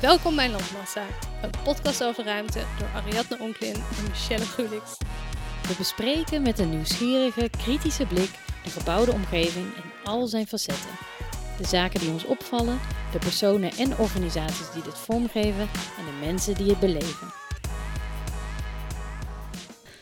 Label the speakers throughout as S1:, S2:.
S1: Welkom bij Landmassa, een podcast over ruimte door Ariadne Onklin en Michelle Gulix.
S2: We bespreken met een nieuwsgierige, kritische blik de gebouwde omgeving in al zijn facetten. De zaken die ons opvallen, de personen en organisaties die dit vormgeven en de mensen die het beleven.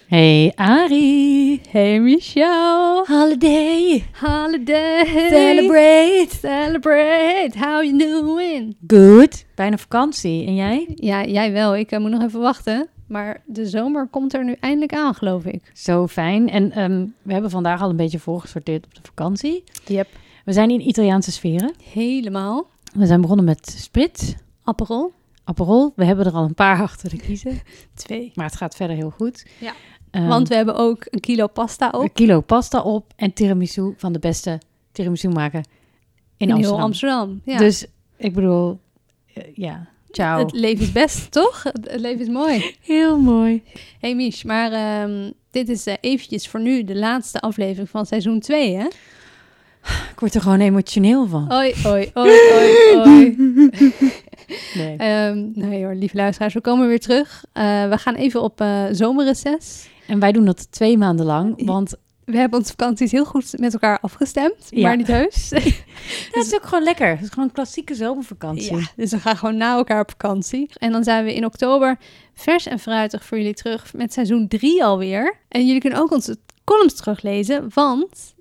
S2: Hey Ari,
S3: Hey Michelle,
S2: holiday,
S3: holiday,
S2: celebrate,
S3: celebrate, how you doing?
S2: good. Bijna vakantie en jij?
S3: Ja, jij wel. Ik eh, moet nog even wachten, maar de zomer komt er nu eindelijk aan, geloof ik.
S2: Zo fijn. En ehm, we hebben vandaag al een beetje voorgesorteerd op de vakantie.
S3: Yep.
S2: We zijn in Italiaanse sferen.
S3: Helemaal.
S2: We zijn begonnen met sprit,
S3: Aperol?
S2: Aperol. We hebben er al een paar achter de kiezen.
S3: Twee.
S2: Maar het gaat verder heel goed.
S3: Ja.
S2: Ehm,
S3: Want we hebben ook een kilo pasta op
S2: een kilo pasta op en tiramisu van de beste tiramisu maken in, Amsterdam.
S3: heel Amsterdam. Ja.
S2: Dus ik bedoel, eh, ja, ciao.
S3: Het leven is best, toch? Het het leven is mooi.
S2: Heel mooi.
S3: Hey Mich, maar ehm, dit is eh, eventjes voor nu de laatste aflevering van seizoen 2, hè?
S2: Ik word er gewoon emotioneel van.
S3: Oi, oi, oi, oi, oi.
S2: Nee.
S3: Ehm nee hoor, lieve luisteraars, we komen weer terug. Eh, we gaan even op eh, zomerreces.
S2: En wij doen dat twee maanden lang, want
S3: We hebben onze vakanties heel goed met elkaar afgestemd,
S2: Ja.
S3: maar niet heus.
S2: dat is ook gewoon lekker. Het is gewoon een klassieke zomervakantie.
S3: ja, dus we gaan gewoon na elkaar op vakantie. En dan zijn we in oktober vers en fruitig voor jullie terug met seizoen 3 alweer. En jullie kunnen ook onze columns teruglezen, want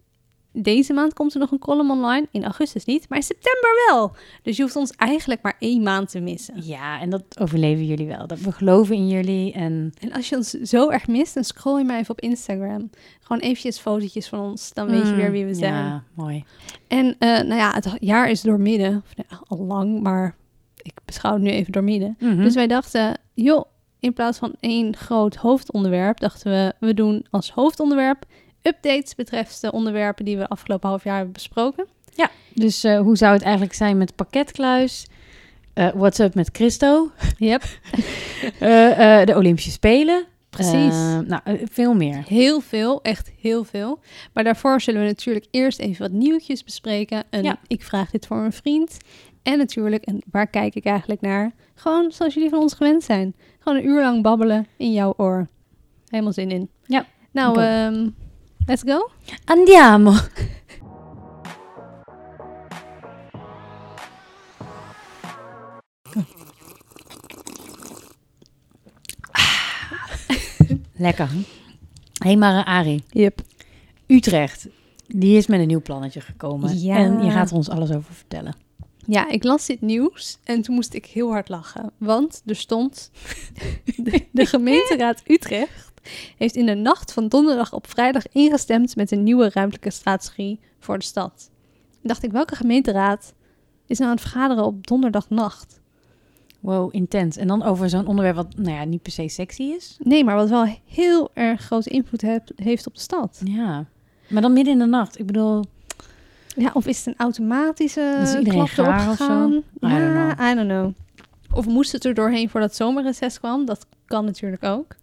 S3: deze maand komt er nog een column online. In augustus niet, maar in september wel. Dus je hoeft ons eigenlijk maar één maand te missen.
S2: Ja, en dat overleven jullie wel. Dat we geloven in jullie en
S3: En als je ons zo erg mist, dan scroll je maar even op Instagram. Gewoon eventjes fotootjes van ons, dan weet je weer wie we zijn.
S2: Mm, Ja, mooi.
S3: En eh, nou ja, het jaar is doormidden. Of, nou, al lang, maar ik beschouw het nu even doormidden.
S2: Mhm.
S3: Dus wij dachten, joh, in plaats van één groot hoofdonderwerp, dachten we, we doen als hoofdonderwerp updates betreft de onderwerpen die we afgelopen half jaar hebben besproken.
S2: Dus eh, hoe zou het eigenlijk zijn met pakketkluis? Eh what's up met Christo?
S3: Yep.
S2: Eh, eh, de Olympische Spelen.
S3: Precies.
S2: Eh, nou, eh, veel meer.
S3: Heel veel, echt heel veel. Maar daarvoor zullen we natuurlijk eerst even wat nieuwtjes bespreken. Een
S2: Ja.
S3: ik vraag dit voor een vriend. En natuurlijk, en waar kijk ik eigenlijk naar? Gewoon zoals jullie van ons gewend zijn. Gewoon een uur lang babbelen in jouw oor. Helemaal zin in.
S2: Ja, ik
S3: Nou,
S2: ook.
S3: ehm, let's go.
S2: Andiamo. Ah. Lekker. Hé, hey, maar eh, Arie.
S3: Yep.
S2: Utrecht. Die is met een nieuw plannetje gekomen.
S3: Ja.
S2: En je gaat er ons alles over vertellen.
S3: Ja, ik las dit nieuws en toen moest ik heel hard lachen. Want er stond, de, de gemeenteraad Utrecht heeft in de nacht van donderdag op vrijdag ingestemd met een nieuwe ruimtelijke strategie voor de stad. Toen dacht ik, welke gemeenteraad is nou aan het vergaderen op donderdagnacht?
S2: Wow, intens. En dan over zo'n onderwerp wat, nou ja, niet per se sexy is.
S3: Nee, maar wat wel heel erg grote invloed heb- heeft op de stad.
S2: Ja. Maar dan midden in de nacht. Ik bedoel,
S3: Ja, of is het een
S2: Dan is
S3: automatische
S2: iedereen
S3: klap erop
S2: gaar of zo?
S3: gegaan?
S2: I
S3: Ja,
S2: don't
S3: I don't know. Of moest het er doorheen voordat zomerreces kwam? Dat kan natuurlijk ook.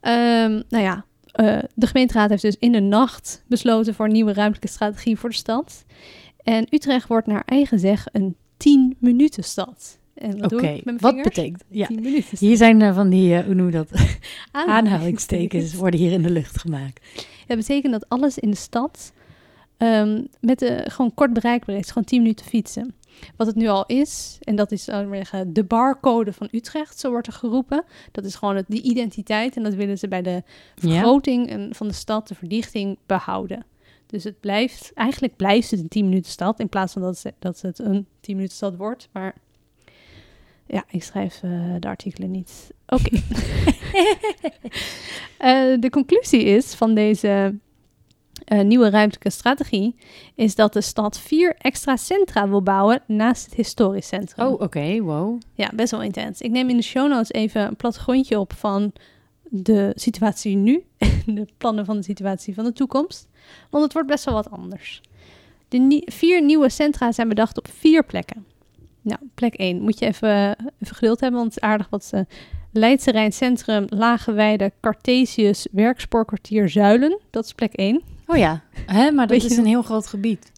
S3: Ehm, nou ja, eh, de gemeenteraad heeft dus in de nacht besloten voor een nieuwe ruimtelijke strategie voor de stad. En Utrecht wordt naar eigen zeg een 10 minuten stad. En dat
S2: oké.
S3: doe ik met mijn
S2: Wat
S3: vinger.
S2: betekent? Ja.
S3: 10 minuten
S2: Hier zijn eh, van die, eh, hoe noem je dat? Aanhalingstekens
S3: Aanhalingstekens.
S2: worden hier in de lucht gemaakt.
S3: Dat betekent dat alles in de stad ehm, met de, gewoon kort bereikbaar is. Gewoon 10 minuten fietsen. Wat het nu al is, en dat is laten we maar zeggen, de barcode van Utrecht, zo wordt er geroepen. Dat is gewoon het, die identiteit en dat willen ze bij de vergroting en van de stad, de verdichting behouden. Dus het blijft, eigenlijk blijft het een 10 minuten stad in plaats van dat, ze, dat het een 10 minuten stad wordt. Maar ja, ik schrijf eh, de artikelen niet. Oké. Eh, de conclusie is van deze eh, nieuwe ruimtelijke strategie is dat de stad vier extra centra wil bouwen naast het historisch centrum.
S2: Oh, oké, wow.
S3: Ja, best wel intens. Ik neem in de show notes even een plattegrondje op van de situatie nu. en de plannen van de situatie van de toekomst. Want het wordt best wel wat anders. De nie- vier nieuwe centra zijn bedacht op vier plekken. Nou, plek 1 moet je even, even geduld hebben, want het is aardig wat ze... Leidse Rijn Centrum, Lage Weide, Cartesius, Werkspoorkwartier, Zuilen. Dat is plek 1.
S2: Oh ja, Hè, maar dat
S3: Weet je
S2: is een heel groot gebied.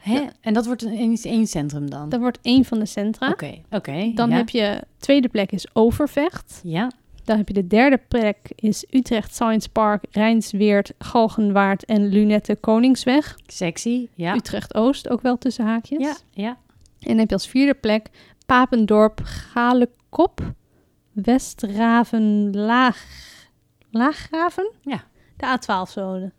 S4: Hè? En dat wordt een- in één centrum dan?
S3: Dat wordt één van de centra.
S4: Oké, oké.
S3: Dan
S4: ja.
S3: heb je tweede plek is Overvecht.
S4: Ja,
S3: Dan heb je de derde plek is Utrecht Science Park, Rijnsweerd, Galgenwaard en Lunette Koningsweg.
S4: sexy. Ja,
S3: Utrecht Oost ook wel tussen haakjes.
S4: ja, ja.
S3: En dan heb je als vierde plek Papendorp, Galekop, Westraven, Laag, Laaggraven.
S4: Ja.
S3: De A12-zone.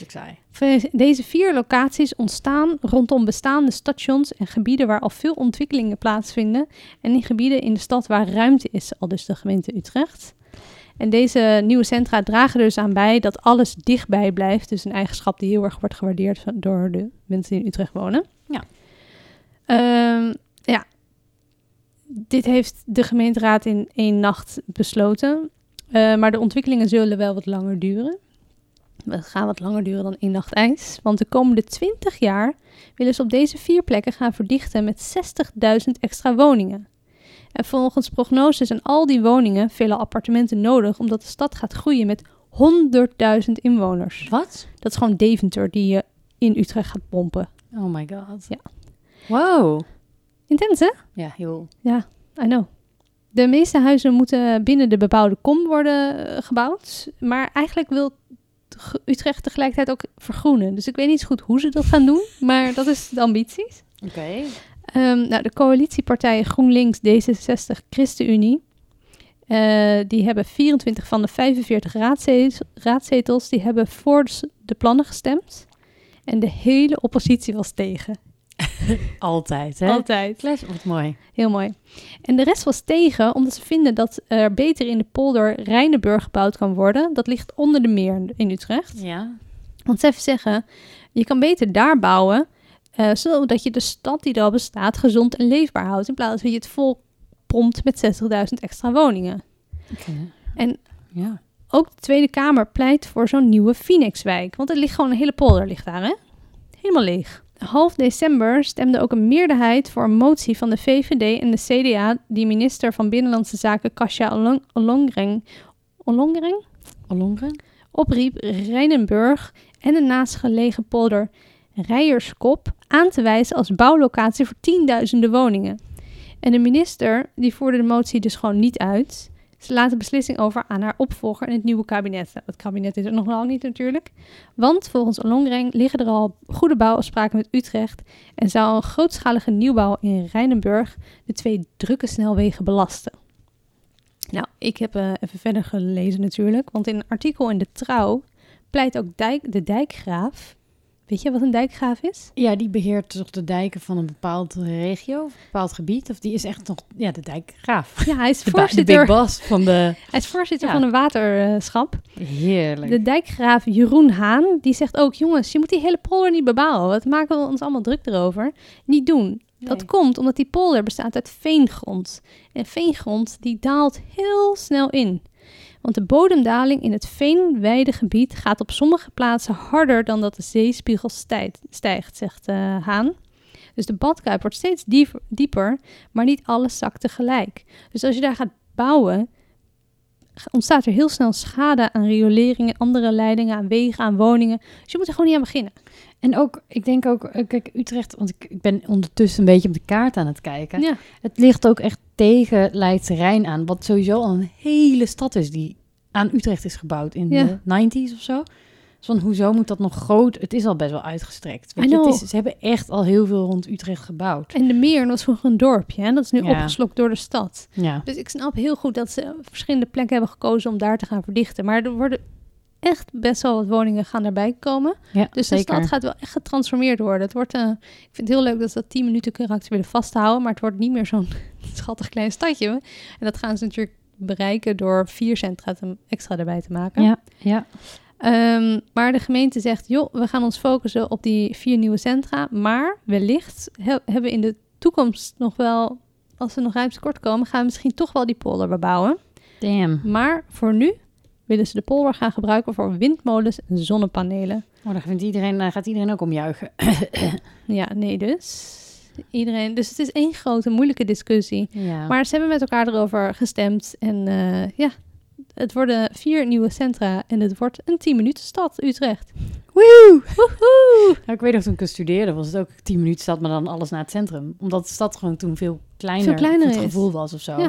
S4: Ik zei.
S3: Deze vier locaties ontstaan rondom bestaande stations en gebieden waar al veel ontwikkelingen plaatsvinden. En in gebieden in de stad waar ruimte is, al dus de gemeente Utrecht. En deze nieuwe centra dragen er dus aan bij dat alles dichtbij blijft. Dus een eigenschap die heel erg wordt gewaardeerd van, door de mensen die in Utrecht wonen.
S4: Ja.
S3: Ehm, ja. Dit heeft de gemeenteraad in één nacht besloten. Eh, maar de ontwikkelingen zullen wel wat langer duren. Het gaan wat langer duren dan één nacht ijs. Want de komende 20 jaar willen ze op deze vier plekken gaan verdichten met 60.000 extra woningen. En volgens prognoses zijn al die woningen, vele appartementen nodig, omdat de stad gaat groeien met 100.000 inwoners.
S4: Wat?
S3: Dat is gewoon Deventer die je in Utrecht gaat pompen.
S4: Oh my god.
S3: Ja.
S4: Wow.
S3: Intens, hè?
S4: Ja, heel.
S3: I know. De meeste huizen moeten binnen de bebouwde kom worden eh, gebouwd. Maar eigenlijk wil t- ge- Utrecht tegelijkertijd ook vergroenen. Dus ik weet niet zo goed hoe ze dat gaan doen. Maar dat is de ambitie.
S4: Oké.
S3: Ehm, nou, de coalitiepartijen GroenLinks, D66, ChristenUnie. eh, die hebben 24 van de 45 raadzetels, raadzetels. Die hebben voor de s- de plannen gestemd. En de hele oppositie was tegen.
S4: Altijd, hè?
S3: Altijd.
S4: Les, wat mooi.
S3: Heel mooi. En de rest was tegen, omdat ze vinden dat er beter in de polder Rijnenburg gebouwd kan worden. Dat ligt onder de meer in- in Utrecht.
S4: Ja.
S3: Want ze even zeggen, je kan beter daar bouwen, eh, zodat je de stad die er al bestaat gezond en leefbaar houdt, in plaats van je het vol pompt met 60.000 extra woningen. En-
S4: Ja.
S3: Ook de Tweede Kamer pleit voor zo'n nieuwe Phoenixwijk, want er ligt gewoon een hele polder ligt daar, hè? Helemaal leeg. Half december stemde ook een meerderheid voor een motie van de VVD en de CDA die minister van Binnenlandse Zaken Kasia Ollong- Ollongren, Ollongren
S4: Ollongren?
S3: opriep Rijnenburg en de naastgelegen polder Rijerskop aan te wijzen als bouwlocatie voor tienduizenden woningen. En de minister die voerde de motie dus gewoon niet uit. Ze laat de beslissing over aan haar opvolger in het nieuwe kabinet. Nou, Het kabinet is er nog lang niet natuurlijk. Want volgens Longreng liggen er al goede bouwafspraken met Utrecht en zou een grootschalige nieuwbouw in Rijnenburg de twee drukke snelwegen belasten. Nou, ik heb eh, even verder gelezen natuurlijk, want in een artikel in de Trouw pleit ook dijk, de dijkgraaf. Weet je wat een dijkgraaf is?
S4: Ja, die beheert toch de dijken van een bepaald regio, of een bepaald gebied. Of die is echt nog, ja, de dijkgraaf.
S3: Ja, hij is
S4: De, ba- de big
S3: voorzitter,
S4: boss van de...
S3: hij is voorzitter
S4: Ja.
S3: van een waterschap.
S4: Heerlijk.
S3: De dijkgraaf Jeroen Haan, die zegt ook, jongens, je moet die hele polder niet bebouwen. Wat maken we ons allemaal druk erover? Niet doen. Dat komt omdat die polder bestaat uit veengrond. En veengrond die daalt heel snel in. Want de bodemdaling in het veenweidegebied gaat op sommige plaatsen harder dan dat de zeespiegel stijt- stijgt, zegt eh, Haan. Dus de badkuip wordt steeds dief- dieper, maar niet alles zakt tegelijk. Dus als je daar gaat bouwen, g- ontstaat er heel snel schade aan rioleringen, andere leidingen, aan wegen, aan woningen. Dus je moet er gewoon niet aan beginnen.
S4: En ook, ik denk ook, eh, kijk, Utrecht, want ik, ik ben ondertussen een beetje op de kaart aan het kijken.
S3: Ja.
S4: Het ligt ook echt tegen Leidse Rijn aan, wat sowieso al een hele stad is die aan Utrecht is gebouwd in
S3: Ja.
S4: de 90s of zo. Dus van hoezo moet dat nog groot? Het is al best wel uitgestrekt. Weet
S3: I
S4: je, het
S3: know.
S4: is, ze hebben echt al heel veel rond Utrecht gebouwd.
S3: En de Meer was vroeger een dorpje en dat is nu
S4: Ja.
S3: opgeslokt door de stad.
S4: Ja.
S3: Dus ik snap heel goed dat ze verschillende plekken hebben gekozen om daar te gaan verdichten. Maar er worden echt best wel wat woningen gaan daarbij komen.
S4: ja
S3: Dus de stad gaat wel echt getransformeerd worden. Het wordt, eh, ik vind het heel leuk dat ze dat 10 minuten karakter willen vasthouden. Maar het wordt niet meer zo'n schattig klein stadje. En dat gaan ze natuurlijk bereiken door vier centra te- extra erbij te maken.
S4: Ja, ja.
S3: Ehm, maar de gemeente zegt, joh, we gaan ons focussen op die vier nieuwe centra. Maar wellicht he- hebben we in de toekomst nog wel, als we nog ruimte kort komen, gaan we misschien toch wel die polder bebouwen.
S4: Damn.
S3: Maar voor nu willen ze de polder gaan gebruiken voor windmolens en zonnepanelen.
S4: Oh, dan vindt iedereen, dan gaat iedereen ook omjuichen.
S3: Ja, nee dus. Iedereen, dus het is één grote moeilijke discussie.
S4: Ja.
S3: Maar ze hebben met elkaar erover gestemd. En eh, ja, het worden vier nieuwe centra en het wordt een 10 minuten stad, Utrecht.
S2: Woehoe! Nou, ik weet nog toen ik er studeerde, was het ook 10 minuten stad, maar dan alles naar het centrum. Omdat de stad gewoon toen veel kleiner,
S3: Veel kleiner
S2: het
S3: is.
S2: gevoel was of zo.
S3: Ja.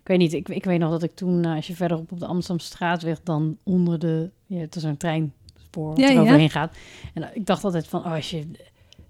S2: Ik weet niet, ik, ik weet nog dat ik toen, eh, als je verderop op de Amsterdamstraat werd, dan onder de, ja, het was een treinspoor wat
S3: Ja,
S2: er
S3: ja.
S2: overheen gaat. En eh, ik dacht altijd van, oh, als je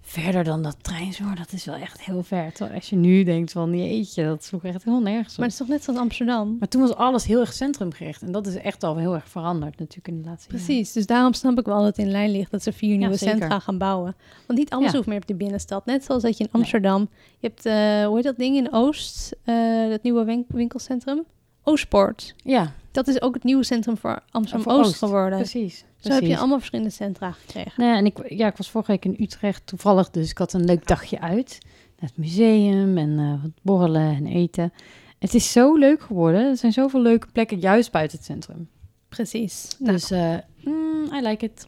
S2: verder dan dat treinspoor, dat is wel echt heel ver. Terwijl als je nu denkt van, jeetje, dat sloeg echt helemaal nergens op.
S3: Maar het is toch net zoals Amsterdam?
S2: Maar toen was alles heel erg centrumgericht. En dat is echt al heel erg veranderd natuurlijk in de laatste jaren.
S3: Precies, dus daarom snap ik wel dat het in lijn ligt dat ze vier nieuwe
S2: zeker.
S3: centra gaan bouwen. Want niet alles
S2: Ja.
S3: hoeft meer op de binnenstad. Net zoals dat je in Amsterdam, je hebt, eh, hoe heet dat ding in Oost, eh, dat nieuwe wen- winkelcentrum? Oostpoort.
S2: Ja,
S3: Dat is ook het nieuwe centrum voor Amsterdam
S2: Voor
S3: Oost,
S2: Oost,
S3: geworden.
S2: precies.
S3: Zo heb je
S2: precies.
S3: allemaal verschillende centra gekregen.
S2: Nou ja, en ik, ja, ik was vorige week in Utrecht toevallig, dus ik had een leuk dagje uit. Naar het museum en eh, wat borrelen en eten. Het is zo leuk geworden. Er zijn zoveel leuke plekken juist buiten het centrum.
S3: Precies.
S2: Dus eh, mm, I like it.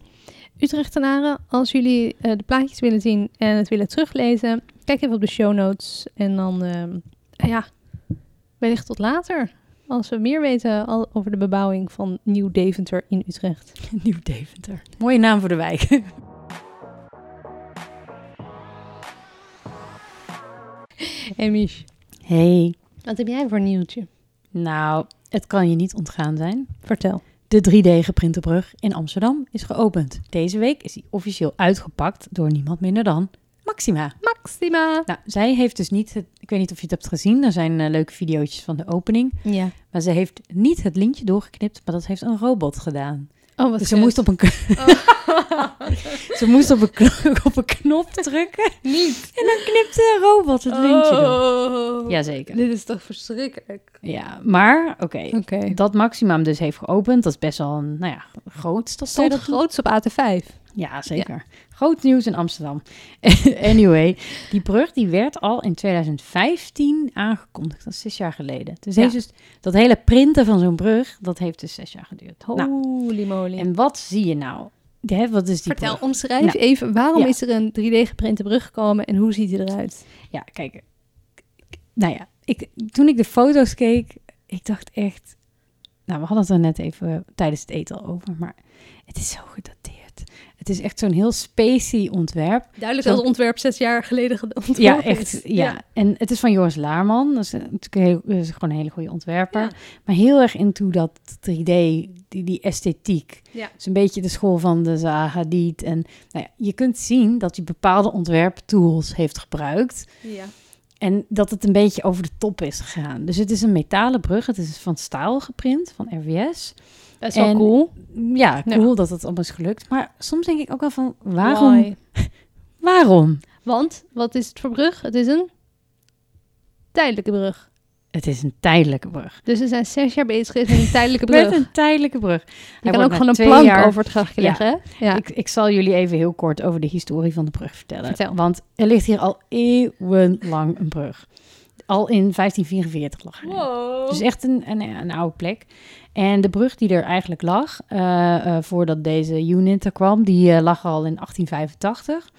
S3: Utrechtenaren, als jullie eh, de plaatjes willen zien en het willen teruglezen, kijk even op de show notes. En dan, ehm, ja, wellicht tot later. Als we meer weten al over de bebouwing van Nieuw Deventer in Utrecht.
S2: Nieuw Deventer. Mooie naam voor de wijk.
S3: En Mich,
S2: Hey,
S3: wat heb jij voor nieuwtje?
S2: nou, het kan je niet ontgaan zijn.
S3: Vertel.
S2: De 3D-geprinte brug in Amsterdam is geopend. Deze week is die officieel uitgepakt door niemand minder dan Maxima.
S3: Maxima!
S2: Nou, zij heeft dus niet, het, ik weet niet of je het hebt gezien, er zijn eh, leuke video's van de opening.
S3: Ja.
S2: Maar ze heeft niet het lintje doorgeknipt, maar dat heeft een robot gedaan.
S3: Oh, wat Oh.
S2: Dus ze moest, op een, k- ze moest op, een knop, op een knop drukken
S3: niet
S2: en dan knipte een robot het lintje door.
S3: Oh.
S2: Jazeker.
S3: Dit is toch verschrikkelijk.
S2: Ja, maar oké.
S3: Oké.
S2: Dat maximum dus heeft geopend, dat is best wel een, nou ja, groot stadsdeel
S3: Stond
S2: dat
S3: het
S2: doet.
S3: groots op AT5.
S2: Ja, zeker. Groot nieuws in Amsterdam. anyway, die brug die werd al in 2015 aangekondigd. Dat is zes jaar geleden. Dus
S3: Ja.
S2: heeft dus dat hele printen van zo'n brug, dat heeft dus zes jaar geduurd. Nou,
S3: Holy moly.
S2: en wat zie je nou? Hè, wat is die
S3: Vertel,
S2: brug?
S3: omschrijf
S2: Nou,
S3: even waarom
S2: ja.
S3: is er een 3D geprinte brug gekomen en hoe ziet die eruit?
S2: Ja, kijk. Nou ja, ik, toen ik de foto's keek, ik dacht echt... Nou, we hadden het er net even eh, tijdens het eten al over, maar het is zo gedateerd. Het is echt zo'n heel spacey ontwerp.
S3: Duidelijk
S2: Zo-
S3: dat het ontwerp zes jaar geleden ge- ontworpen
S2: Ja,
S3: is.
S2: echt. Ja. En het is van Joris Laarman. Dat is eh, natuurlijk een heel, dat is gewoon een hele goede ontwerper. Maar heel erg into dat 3D, die, die esthetiek.
S3: Ja.
S2: Het is een beetje de school van de Zaha Hadid. En nou ja, je kunt zien dat hij bepaalde ontwerptools heeft gebruikt.
S3: Ja.
S2: En dat het een beetje over de top is gegaan. Dus het is een metalen brug. Het is van staal geprint, van RWS.
S3: Dat is
S2: En-
S3: wel cool.
S2: Ja,
S3: Ja.
S2: cool dat het allemaal is gelukt. Maar soms denk ik ook wel van, waarom? Waarom?
S3: Want, wat is het voor brug? Het is een tijdelijke brug.
S2: Het is een tijdelijke brug.
S3: Dus we zijn zes jaar bezig geweest met een tijdelijke
S2: Met
S3: brug.
S2: een tijdelijke brug.
S3: Je kan
S2: Hij wordt
S3: ook
S2: na
S3: gewoon een
S2: twee
S3: plank
S2: jaar-
S3: over het grachtje
S2: Ja.
S3: leggen. hè? Ja.
S2: Ik, ik zal jullie even heel kort over de historie van de brug vertellen.
S3: Vertel.
S2: Want er ligt hier al eeuwenlang een brug. Al in 1544 lag hij. Dus echt een, een, een oude plek. En de brug die er eigenlijk lag, eh, eh, voordat deze unit er kwam, die eh, lag al in 1885.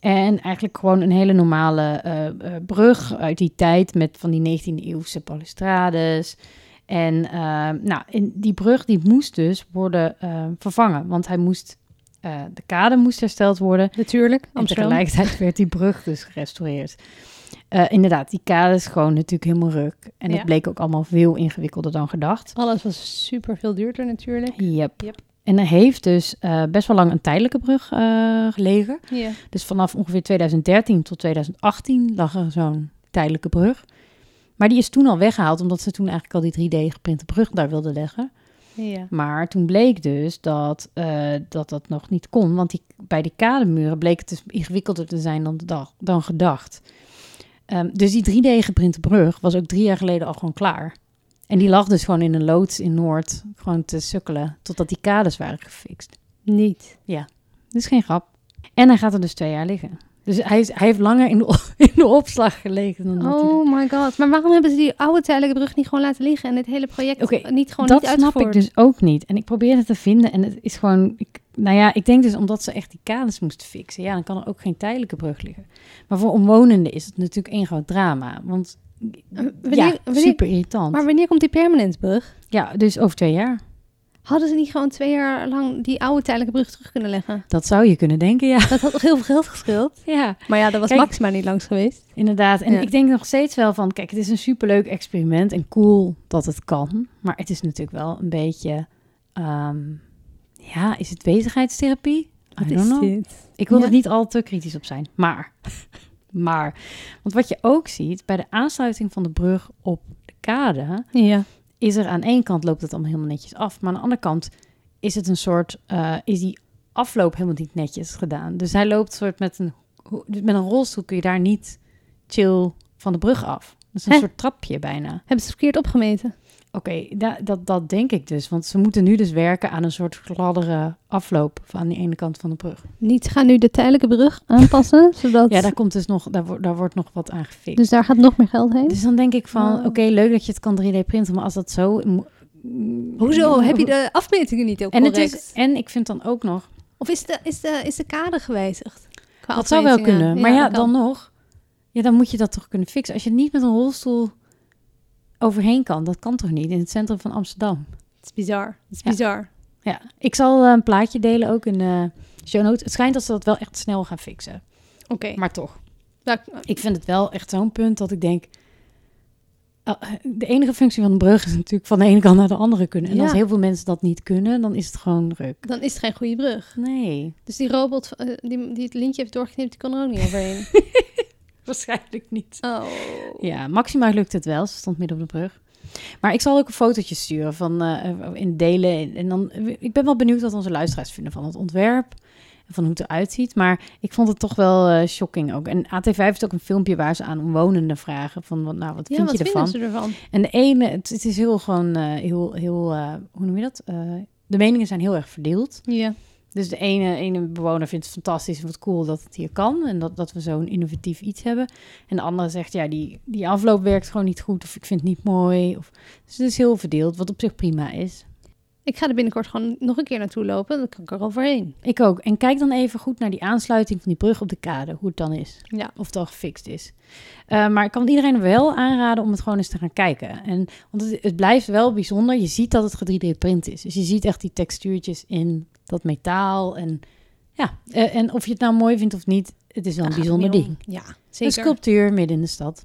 S2: En eigenlijk gewoon een hele normale eh, eh, brug uit die tijd met van die 19e eeuwse balustrades. En eh, nou, in die brug die moest dus worden eh, vervangen, want hij moest, eh, de kade moest hersteld worden.
S3: Natuurlijk,
S2: En
S3: Amsterdam.
S2: tegelijkertijd werd die brug dus gerestaureerd. Eh, inderdaad, die kade is gewoon natuurlijk helemaal ruk. En
S3: Ja.
S2: dat bleek ook allemaal veel ingewikkelder dan gedacht.
S3: Alles was super veel duurder natuurlijk.
S2: Yep.
S3: Yep.
S2: En er heeft dus eh, best wel lang een tijdelijke brug eh, gelegen.
S3: Ja.
S2: Dus vanaf ongeveer 2013 tot 2018 lag er zo'n tijdelijke brug. Maar die is toen al weggehaald, omdat ze toen eigenlijk al die 3D geprinte brug daar wilden leggen.
S3: ja.
S2: Maar toen bleek dus dat eh, dat, dat nog niet kon. Want die, bij die kademuren bleek het dus ingewikkelder te zijn dan, de dag, dan gedacht. Ehm, dus die 3D-geprinte brug was ook drie jaar geleden al gewoon klaar. En die lag dus gewoon in een loods in Noord, gewoon te sukkelen, totdat die kades waren gefixt.
S3: Niet.
S2: Dus geen grap. En hij gaat er dus twee jaar liggen. Dus hij, is, hij heeft langer in de, o- in de opslag gelegen dan dat hij... er-
S3: Oh my god. Maar waarom hebben ze die oude tijdelijke brug niet gewoon laten liggen en het hele project
S2: Oké,
S3: niet gewoon
S2: dat
S3: niet
S2: snap
S3: uitgevoerd?
S2: ik dus ook niet. En ik probeerde te vinden en het is gewoon... Ik, nou ja, ik denk dus omdat ze echt die kaders moest fixen. Ja, dan kan er ook geen tijdelijke brug liggen. Maar voor omwonenden is het natuurlijk één groot drama. Want
S3: wanneer-
S2: ja,
S3: Eh, wanneer-
S2: super irritant.
S3: Maar wanneer komt die permanent brug?
S2: Ja, dus over twee jaar.
S3: Hadden ze niet gewoon twee jaar lang die oude tijdelijke brug terug kunnen leggen?
S2: Dat zou je kunnen denken, ja.
S3: Dat had toch heel veel geld gescheeld?
S2: Ja,
S3: Maar ja, dat was
S2: Kijk.
S3: Max maar niet langs geweest.
S2: inderdaad. En
S3: Ja.
S2: ik denk nog steeds wel van, kijk, het is een superleuk experiment en cool dat het kan. Maar het is natuurlijk wel een beetje, ehm, ja, is het bezigheidstherapie? I don't know. Ik wil
S3: Ja.
S2: er niet al te kritisch op zijn, maar, maar. Want wat je ook ziet, bij de aansluiting van de brug op de kade...
S3: Ja.
S2: is er aan één kant loopt het allemaal helemaal netjes af. Maar aan de andere kant is het een soort, eh, is die afloop helemaal niet netjes gedaan. Dus hij loopt soort met een, ho- dus met een rolstoel kun je daar niet chill van de brug af. Dat is een
S3: Hè?
S2: soort trapje bijna.
S3: Hebben ze verkeerd opgemeten?
S2: Oké, da- dat, dat denk ik dus. Want ze moeten nu dus werken aan een soort gladdere afloop van die ene kant van de brug.
S3: Niet gaan nu de tijdelijke brug aanpassen, zodat...
S2: Ja, daar komt dus nog, daar, wordt daar wordt nog wat aan gefixt.
S3: Dus daar gaat nog meer geld heen?
S2: Dus dan denk ik van,
S3: Oh.
S2: oké, leuk dat je het kan 3D printen, maar als dat zo... mm,
S3: Hoezo? Heb je de afmetingen niet ook
S2: en, het
S3: correct?
S2: is, en ik vind dan ook nog,
S3: Of is de, is, de, is de kader gewijzigd? Qua
S2: Dat zou wel
S3: afmetingen?
S2: kunnen. Maar ja,
S3: dat kan.
S2: dan nog. Ja, dan moet je dat toch kunnen fixen. Als je niet met een rolstoel overheen kan, dat kan toch niet in het centrum van Amsterdam.
S3: Het is bizar. Het is
S2: Ja.
S3: bizar.
S2: Ja, ik zal eh, een plaatje delen ook in de show notes. Het schijnt dat ze dat wel echt snel gaan fixen.
S3: Oké.
S2: Maar toch,
S3: Nou,
S2: ik vind het wel echt zo'n punt dat ik denk. eh, De enige functie van een brug is natuurlijk van de ene kant naar de andere kunnen. En
S3: Ja.
S2: als heel veel mensen dat niet kunnen, dan is het gewoon druk.
S3: Dan is het geen goede brug.
S2: Nee,
S3: Dus die robot eh, die, die het lintje heeft doorgeknipt, die kon er ook niet overheen.
S2: waarschijnlijk niet.
S3: Oh.
S2: Ja, Maxima lukt het wel. Ze stond midden op de brug. Maar ik zal ook een fotootje sturen van eh, in delen. En dan, ik ben wel benieuwd wat onze luisteraars vinden van het ontwerp. En van hoe het eruit ziet. Maar ik vond het toch wel eh, shocking ook. En AT5 heeft ook een filmpje waar ze aan omwonenden vragen. Van, wat- nou, wat
S3: Ja,
S2: vind
S3: wat
S2: je ervan?
S3: vinden ze ervan?
S2: En de ene, het, het is heel gewoon, eh, heel, heel eh, hoe noem je dat? Eh, de meningen zijn heel erg verdeeld.
S3: Ja.
S2: Dus de ene, ene bewoner vindt het fantastisch en wat cool dat het hier kan. En dat, dat we zo'n innovatief iets hebben. En de andere zegt, ja, die, die afloop werkt gewoon niet goed. Of ik vind het niet mooi. Of, dus het is heel verdeeld, wat op zich prima is.
S3: Ik ga er binnenkort gewoon nog een keer naartoe lopen. Dan kan ik er overheen.
S2: Ik ook. En kijk dan even goed naar die aansluiting van die brug op de kade. Hoe het dan is.
S3: Ja.
S2: Of het al gefixt is. Eh, maar ik kan iedereen wel aanraden om het gewoon eens te gaan kijken. En, want het, het blijft wel bijzonder. Je ziet dat het 3D-print is. Dus je ziet echt die textuurtjes in dat metaal. En, ja, eh, en of je het nou mooi vindt of niet, het is wel een
S3: Daar gaat het
S2: bijzonder
S3: niet
S2: ding.
S3: om. Ja,
S2: Een
S3: zeker.
S2: sculptuur midden in de stad.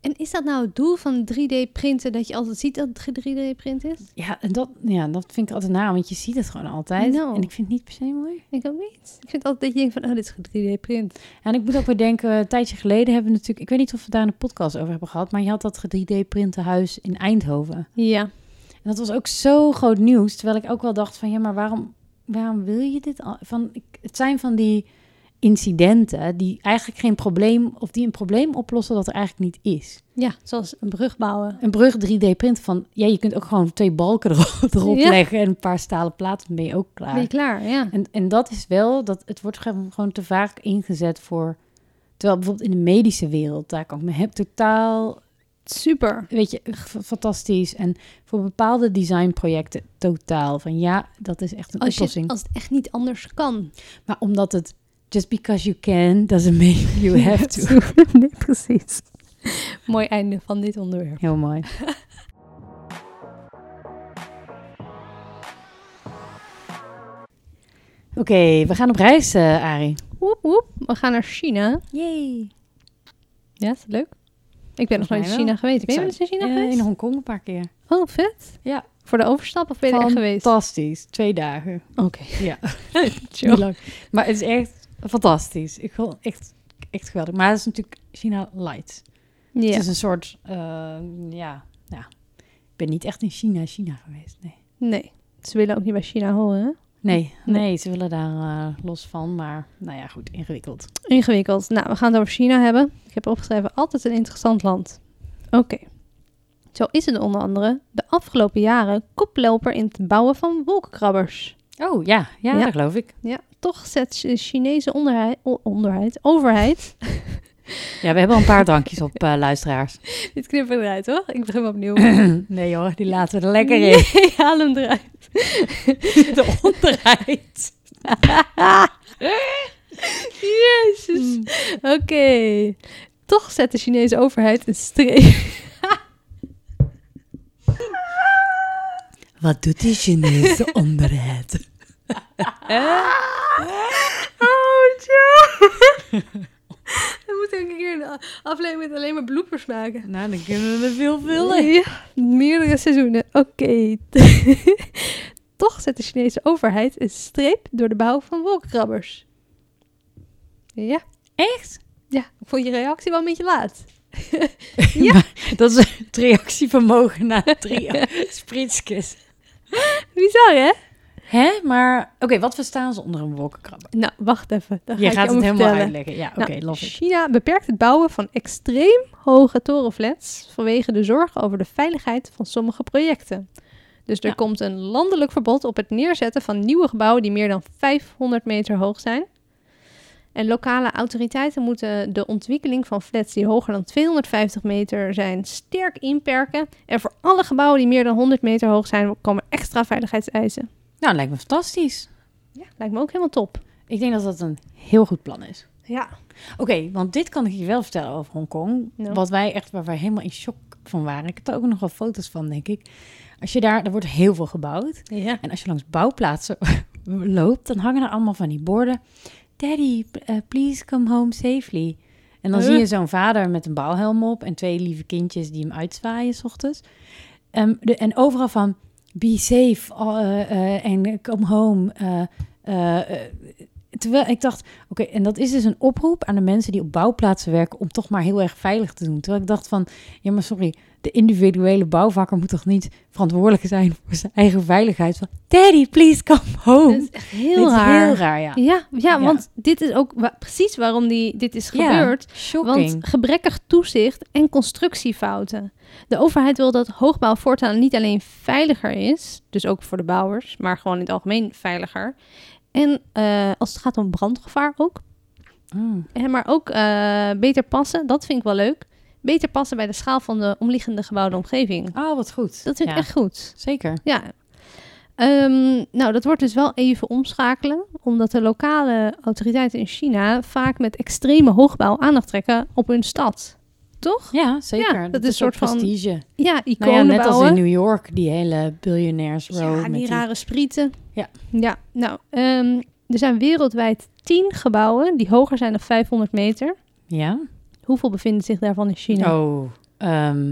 S3: en is dat nou het doel van 3D-printen? Dat je altijd ziet dat het 3D-print is?
S2: Ja, en dat, ja, dat vind ik altijd na, want je ziet het gewoon altijd.
S3: Nou.
S2: En ik vind het niet per se mooi.
S3: Ik ook niet. Ik vind altijd dat je denkt van, oh, dit is 3D-print.
S2: En ik moet ook weer denken, een tijdje geleden hebben we natuurlijk... Ik weet niet of we daar een podcast over hebben gehad... maar je had dat 3D-printen huis in Eindhoven.
S3: Ja.
S2: En dat was ook zo groot nieuws. Terwijl ik ook wel dacht van... Ja, maar waarom, waarom wil je dit? al- Van, ik- het zijn van die incidenten die eigenlijk geen probleem... of die een probleem oplossen dat er eigenlijk niet is.
S3: Ja, zoals een brug bouwen.
S2: Een brug 3D-print van... Ja, je kunt ook gewoon twee balken erop, erop
S3: Ja.
S2: leggen... en een paar stalen platen, dan ben je ook klaar.
S3: Ben je klaar? Ja.
S2: En, en dat is wel, dat, het wordt ge- gewoon te vaak ingezet voor. Terwijl bijvoorbeeld in de medische wereld, daar kan ik me heb totaal,
S3: Super.
S2: weet je, f- fantastisch. En voor bepaalde designprojecten totaal. Van ja, dat is echt een
S3: Als, je,
S2: oplossing.
S3: als het echt niet anders kan.
S2: Maar omdat het just because you can doesn't mean you have to.
S3: nee, precies. Mooi einde van dit onderwerp.
S2: Heel mooi. Oké, we gaan op reis, eh Arie.
S3: Woep, woep. We gaan naar China.
S2: Yay.
S3: Ja, is dat leuk? Ik ben nog
S2: Volgens mij
S3: nooit in
S2: wel.
S3: China geweest.
S2: Ik
S3: Ben je
S2: zou-
S3: wel eens in China
S2: in
S3: geweest?
S2: Hongkong een paar keer.
S3: Oh, vet.
S2: Ja.
S3: Voor de overstap of ben je er echt geweest?
S2: Fantastisch. Twee dagen.
S3: Oké.
S2: Ja.
S3: Chill.
S2: Niet lang. Maar het is echt fantastisch. Ik vond het echt, echt geweldig. Maar het is natuurlijk China light. Het
S3: Ja.
S2: is een soort, eh, ja, ja. Ik ben niet echt in China, China geweest. Nee.
S3: Nee. Ze willen ook niet bij China horen, hè?
S2: Nee,
S3: Nee.
S2: nee, ze willen daar eh, los van. Maar nou ja, goed, ingewikkeld.
S3: Ingewikkeld. Nou, we gaan het over China hebben. Ik heb opgeschreven, altijd een interessant land. Oké. Zo is het onder andere de afgelopen jaren koploper in het bouwen van wolkenkrabbers.
S2: Oh ja, ja,
S3: Ja.
S2: dat geloof ik.
S3: Ja, toch zet de Chinese onderheid, o- onderheid, overheid...
S2: Ja, we hebben al een paar drankjes op eh, luisteraars.
S3: Dit knip ik eruit, hoor. Ik begin opnieuw.
S2: Nee hoor, die laten we er lekker in.
S3: Ik haal hem eruit.
S2: De onderheid.
S3: Jezus. Hmm. Oké. Toch zet de Chinese overheid een streep.
S5: Wat doet die Chinese onderheid?
S3: Ah!
S6: Oh, Joe! We moeten een keer een aflevering met alleen maar bloepers maken.
S5: Nou, dan kunnen we er veel
S3: Ja, meerdere seizoenen. Oké. Toch zet de Chinese overheid een streep door de bouw van wolkrabbers. Ja.
S2: Echt?
S3: Ja, ik vond je reactie wel een beetje laat.
S2: Dat is het reactievermogen na drie spritskes.
S3: Bizar, hè?
S2: Hè? Maar, oké, wat verstaan ze onder een wolkenkrabber?
S3: Nou, wacht even. Dan ga
S2: Je
S3: ik
S2: gaat
S3: je
S2: het
S3: allemaal
S2: helemaal
S3: vertellen.
S2: uitleggen. Ja, oké,
S3: Nou,
S2: love it.
S3: China beperkt het bouwen van extreem hoge torenflats vanwege de zorgen over de veiligheid van sommige projecten. Dus er
S2: Ja.
S3: komt een landelijk verbod op het neerzetten van nieuwe gebouwen die meer dan 500 meter hoog zijn. En lokale autoriteiten moeten de ontwikkeling van flats die hoger dan 250 meter zijn sterk inperken. En voor alle gebouwen die meer dan 100 meter hoog zijn, komen extra veiligheidseisen.
S2: Nou, lijkt me fantastisch.
S3: Ja, lijkt me ook helemaal top.
S2: Ik denk dat dat een heel goed plan is.
S3: Ja,
S2: Oké, want dit kan ik je wel vertellen over Hongkong.
S3: Ja.
S2: Wat wij echt, waar wij helemaal in shock van waren. Ik heb er ook nog wel foto's van, denk ik. Als je daar, er wordt heel veel gebouwd.
S3: ja.
S2: En als je langs bouwplaatsen loopt, dan hangen er allemaal van die borden. Daddy, eh, please come home safely. En dan
S3: Huh?
S2: zie je zo'n vader met een bouwhelm op en twee lieve kindjes die hem uitzwaaien s ochtends. Ehm, de, en overal van, be safe eh, eh, en come home. eh, eh, eh. terwijl ik dacht, oké, en dat is dus een oproep aan de mensen die op bouwplaatsen werken om toch maar heel erg veilig te doen. Terwijl ik dacht van, ja maar sorry, de individuele bouwvakker moet toch niet verantwoordelijk zijn voor zijn eigen veiligheid. Van, Daddy, please come home.
S3: Dat is echt heel
S2: Dit is
S3: raar.
S2: heel raar, ja.
S3: Ja, ja,
S2: Ja.
S3: want dit is ook wa- precies waarom die, dit is
S2: Ja,
S3: gebeurd.
S2: Shocking.
S3: Want gebrekkig toezicht en constructiefouten. De overheid wil dat hoogbouw voortaan niet alleen veiliger is, dus ook voor de bouwers, maar gewoon in het algemeen veiliger. En eh, als het gaat om brandgevaar ook.
S2: Mm.
S3: En, maar ook eh, beter passen, dat vind ik wel leuk. Beter passen bij de schaal van de omliggende gebouwde omgeving.
S2: Oh, wat goed.
S3: Dat vind
S2: Ja,
S3: ik echt goed.
S2: Zeker.
S3: Ja. Ehm, nou, dat wordt dus wel even omschakelen, omdat de lokale autoriteiten in China vaak met extreme hoogbouw aandacht trekken op hun stad. Toch?
S2: Ja, zeker.
S3: Ja, dat is
S2: een
S3: een soort van
S2: prestige.
S3: Ja,
S2: Nou
S3: iconen
S2: ja, net als
S3: bouwen.
S2: in New York, die hele billionaires row.
S3: ja,
S2: met
S3: die
S2: die-
S3: rare sprieten.
S2: Ja.
S3: Ja, nou, ehm, er zijn wereldwijd tien gebouwen die hoger zijn dan 500 meter.
S2: Ja?
S3: Hoeveel bevinden zich daarvan in China?
S2: Oh. ehm,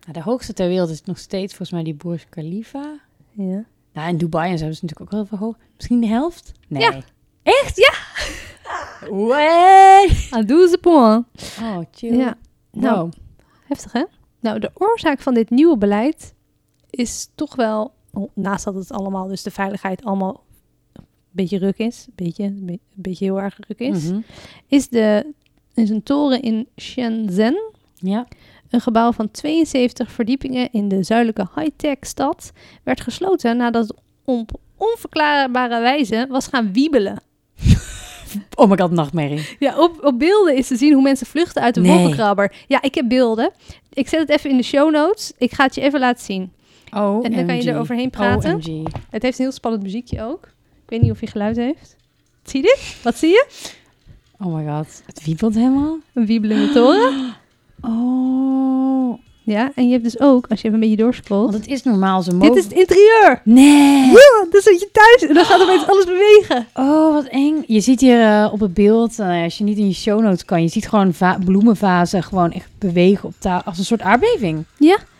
S2: nou, de hoogste ter wereld is nog steeds volgens mij die Burj Khalifa.
S3: Ja.
S2: Nou, in Dubai en zo is het natuurlijk ook heel veel hoog. Misschien de helft? Nee.
S3: Ja.
S2: Echt? Ja! What?
S3: Ah, doe ze point.
S2: Oh, chill.
S3: Ja. Nou,
S2: Wow.
S3: Heftig, hè? Nou, de oorzaak van dit nieuwe beleid is toch wel, oh, naast dat het allemaal, dus de veiligheid allemaal een beetje ruk is, een beetje, een be- een beetje heel erg ruk is,
S2: Mhm.
S3: is, de, is een toren in Shenzhen,
S2: Ja.
S3: een gebouw van 72 verdiepingen in de zuidelijke high-tech stad, werd gesloten nadat het op onverklaarbare wijze was gaan wiebelen.
S2: Oh my god, nachtmerrie.
S3: Ja, op, op beelden is te zien hoe mensen vluchten uit de
S2: Nee.
S3: wolkenkrabber. Ja, ik heb beelden. Ik zet het even in de show notes. Ik ga het je even laten zien.
S2: Oh,
S3: En dan kan je er overheen praten. Het heeft een heel spannend muziekje ook. Ik weet niet of je geluid heeft. Zie je dit? Wat zie je?
S2: Oh my god, het wiebelt helemaal.
S3: Een wiebelende toren.
S2: Oh.
S3: Ja, en je hebt dus ook, als je even een beetje doorscrollt...
S2: Want het is normaal zo
S3: dit Oh, is het interieur!
S2: Nee.
S3: Ja, dan zit je thuis en dan gaat opeens alles bewegen.
S2: Oh, wat eng. Je ziet hier eh, op het beeld, eh, als je niet in je show notes kan, je ziet gewoon va- bloemenvazen gewoon echt bewegen op tafel. Als een soort aardbeving.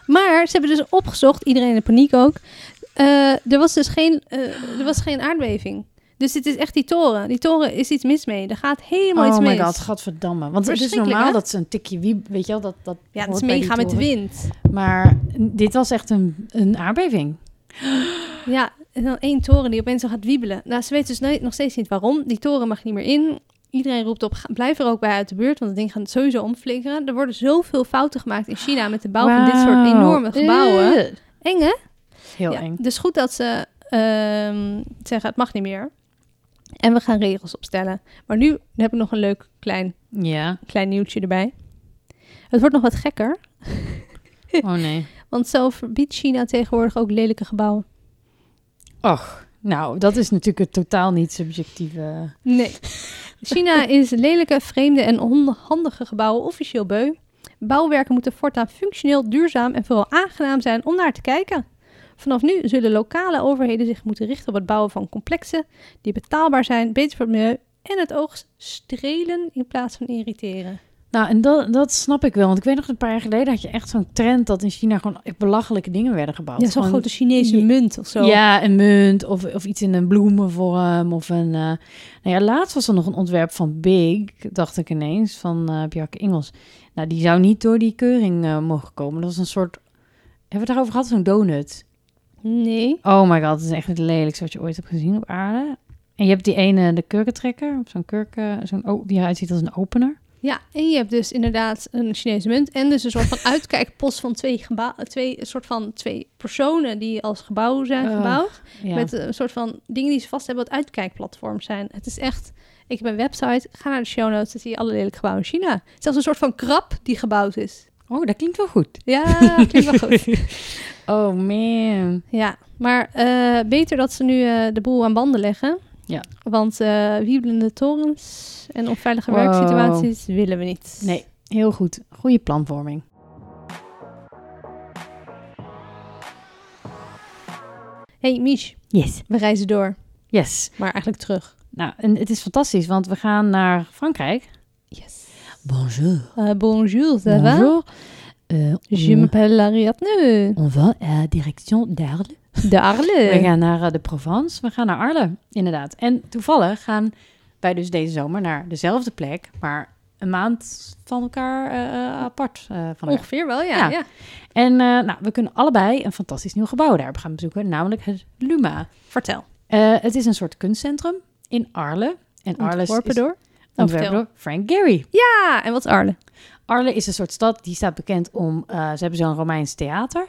S3: Maar ze hebben dus opgezocht, iedereen in paniek ook. eh, er was dus geen, eh, er was geen aardbeving. Dus dit is echt die toren. Die toren is iets mis mee. Er gaat helemaal
S2: oh
S3: iets
S2: my
S3: mis.
S2: god, gadverdamme. Want het is
S3: Verschrikkelijk,
S2: normaal
S3: hè?
S2: dat ze een tikje wieb, weet je wel, dat, dat
S3: Ja, het
S2: hoort
S3: is
S2: bij die
S3: meegaan met de
S2: toren.
S3: wind.
S2: Maar dit was echt een, een aardbeving.
S3: Ja, en dan één toren die opeens zo gaat wiebelen. Nou, ze weet dus nooit- nog steeds niet waarom. Die toren mag niet meer in. Iedereen roept op, ga- blijf er ook bij uit de buurt, want het ding gaat sowieso omflikkeren. Er worden zoveel fouten gemaakt in China met de bouw van dit soort
S2: Wauw.
S3: enorme gebouwen.
S2: Eh,
S3: Eng, hè?
S2: Heel
S3: Ja,
S2: eng.
S3: Dus goed dat ze ehm, zeggen, het mag niet meer. En we gaan regels opstellen. Maar nu heb ik nog een leuk klein,
S2: Ja.
S3: klein nieuwtje erbij. Het wordt nog wat gekker,
S2: Oh nee.
S3: want zo verbiedt China tegenwoordig ook lelijke gebouwen.
S2: Och, nou, dat is natuurlijk het totaal niet subjectieve.
S3: Nee. China is lelijke, vreemde en onhandige gebouwen officieel beu. Bouwwerken moeten voortaan functioneel, duurzaam en vooral aangenaam zijn om naar te kijken. Vanaf nu zullen lokale overheden zich moeten richten op het bouwen van complexen die betaalbaar zijn, beter voor het milieu en het oog strelen in plaats van irriteren.
S2: Nou, en dat, dat snap ik wel. Want ik weet nog een paar jaar geleden had je echt zo'n trend dat in China gewoon echt belachelijke dingen werden gebouwd.
S3: Ja, zo'n
S2: Gewoon-
S3: grote Chinese
S2: Ja.
S3: munt of zo.
S2: Ja, een munt of, of iets in een bloemenvorm. Of een, eh, nou ja, laatst was er nog een ontwerp van Big, dacht ik ineens, van eh Bjarke Ingels. Nou, die zou niet door die keuring eh, mogen komen. Dat was een soort... Hebben we het daarover gehad? Zo'n donut.
S3: Nee.
S2: Oh my god, dat is echt het lelijkste wat je ooit hebt gezien op aarde. En je hebt die ene, de kurkentrekker, of zo'n kurken, zo'n o- die eruit ziet als een opener.
S3: Ja, en je hebt dus inderdaad een Chinese munt en dus een soort van uitkijkpost van twee, gebouw, twee, een soort van twee personen die als gebouw zijn
S2: Ugh,
S3: gebouwd.
S2: Ja.
S3: Met een soort van dingen die ze vast hebben wat uitkijkplatforms zijn. Het is echt, ik heb een website, ga naar de show notes, dan zie je alle lelijke gebouwen in China. Zelfs een soort van krab die gebouwd is.
S2: Oh, dat klinkt wel goed.
S3: Ja, klinkt wel goed.
S2: Oh man.
S3: Ja, maar eh, beter dat ze nu eh, de boel aan banden leggen.
S2: Ja.
S3: Want eh, wiebelende torens en onveilige
S2: Wow.
S3: werksituaties willen we niet.
S2: Nee, heel goed. Goede planvorming.
S3: hey, Mich,
S2: Yes.
S3: we reizen door,
S2: Yes.
S3: maar eigenlijk terug.
S2: Nou, en het is fantastisch, want we gaan naar Frankrijk.
S3: Yes.
S7: Bonjour. Euh,
S3: Eh, bonjour, ça va?
S2: Bonjour. Eh,
S3: Je
S2: on-
S3: m'appelle Ariadne.
S7: On va à direction d'Arles.
S3: De Arle.
S2: We gaan naar eh, de Provence. We gaan naar Arles, inderdaad. En toevallig gaan wij dus deze zomer naar dezelfde plek, maar een maand van elkaar eh, eh, apart eh, van elkaar.
S3: Ongeveer wel, ja.
S2: Ja.
S3: ja.
S2: En eh, nou, we kunnen allebei een fantastisch nieuw gebouw daar gaan bezoeken, namelijk het Luma.
S3: Vertel.
S2: Eh, het is een soort kunstcentrum in Arles. En Arles
S3: Ontworpen
S2: is
S3: door? Oh,
S2: ontworpen
S3: vertel.
S2: door Frank Gehry.
S3: Ja, en wat is Arle?
S2: Arles is een soort stad die staat bekend om. eh, ze hebben zo'n Romeins theater.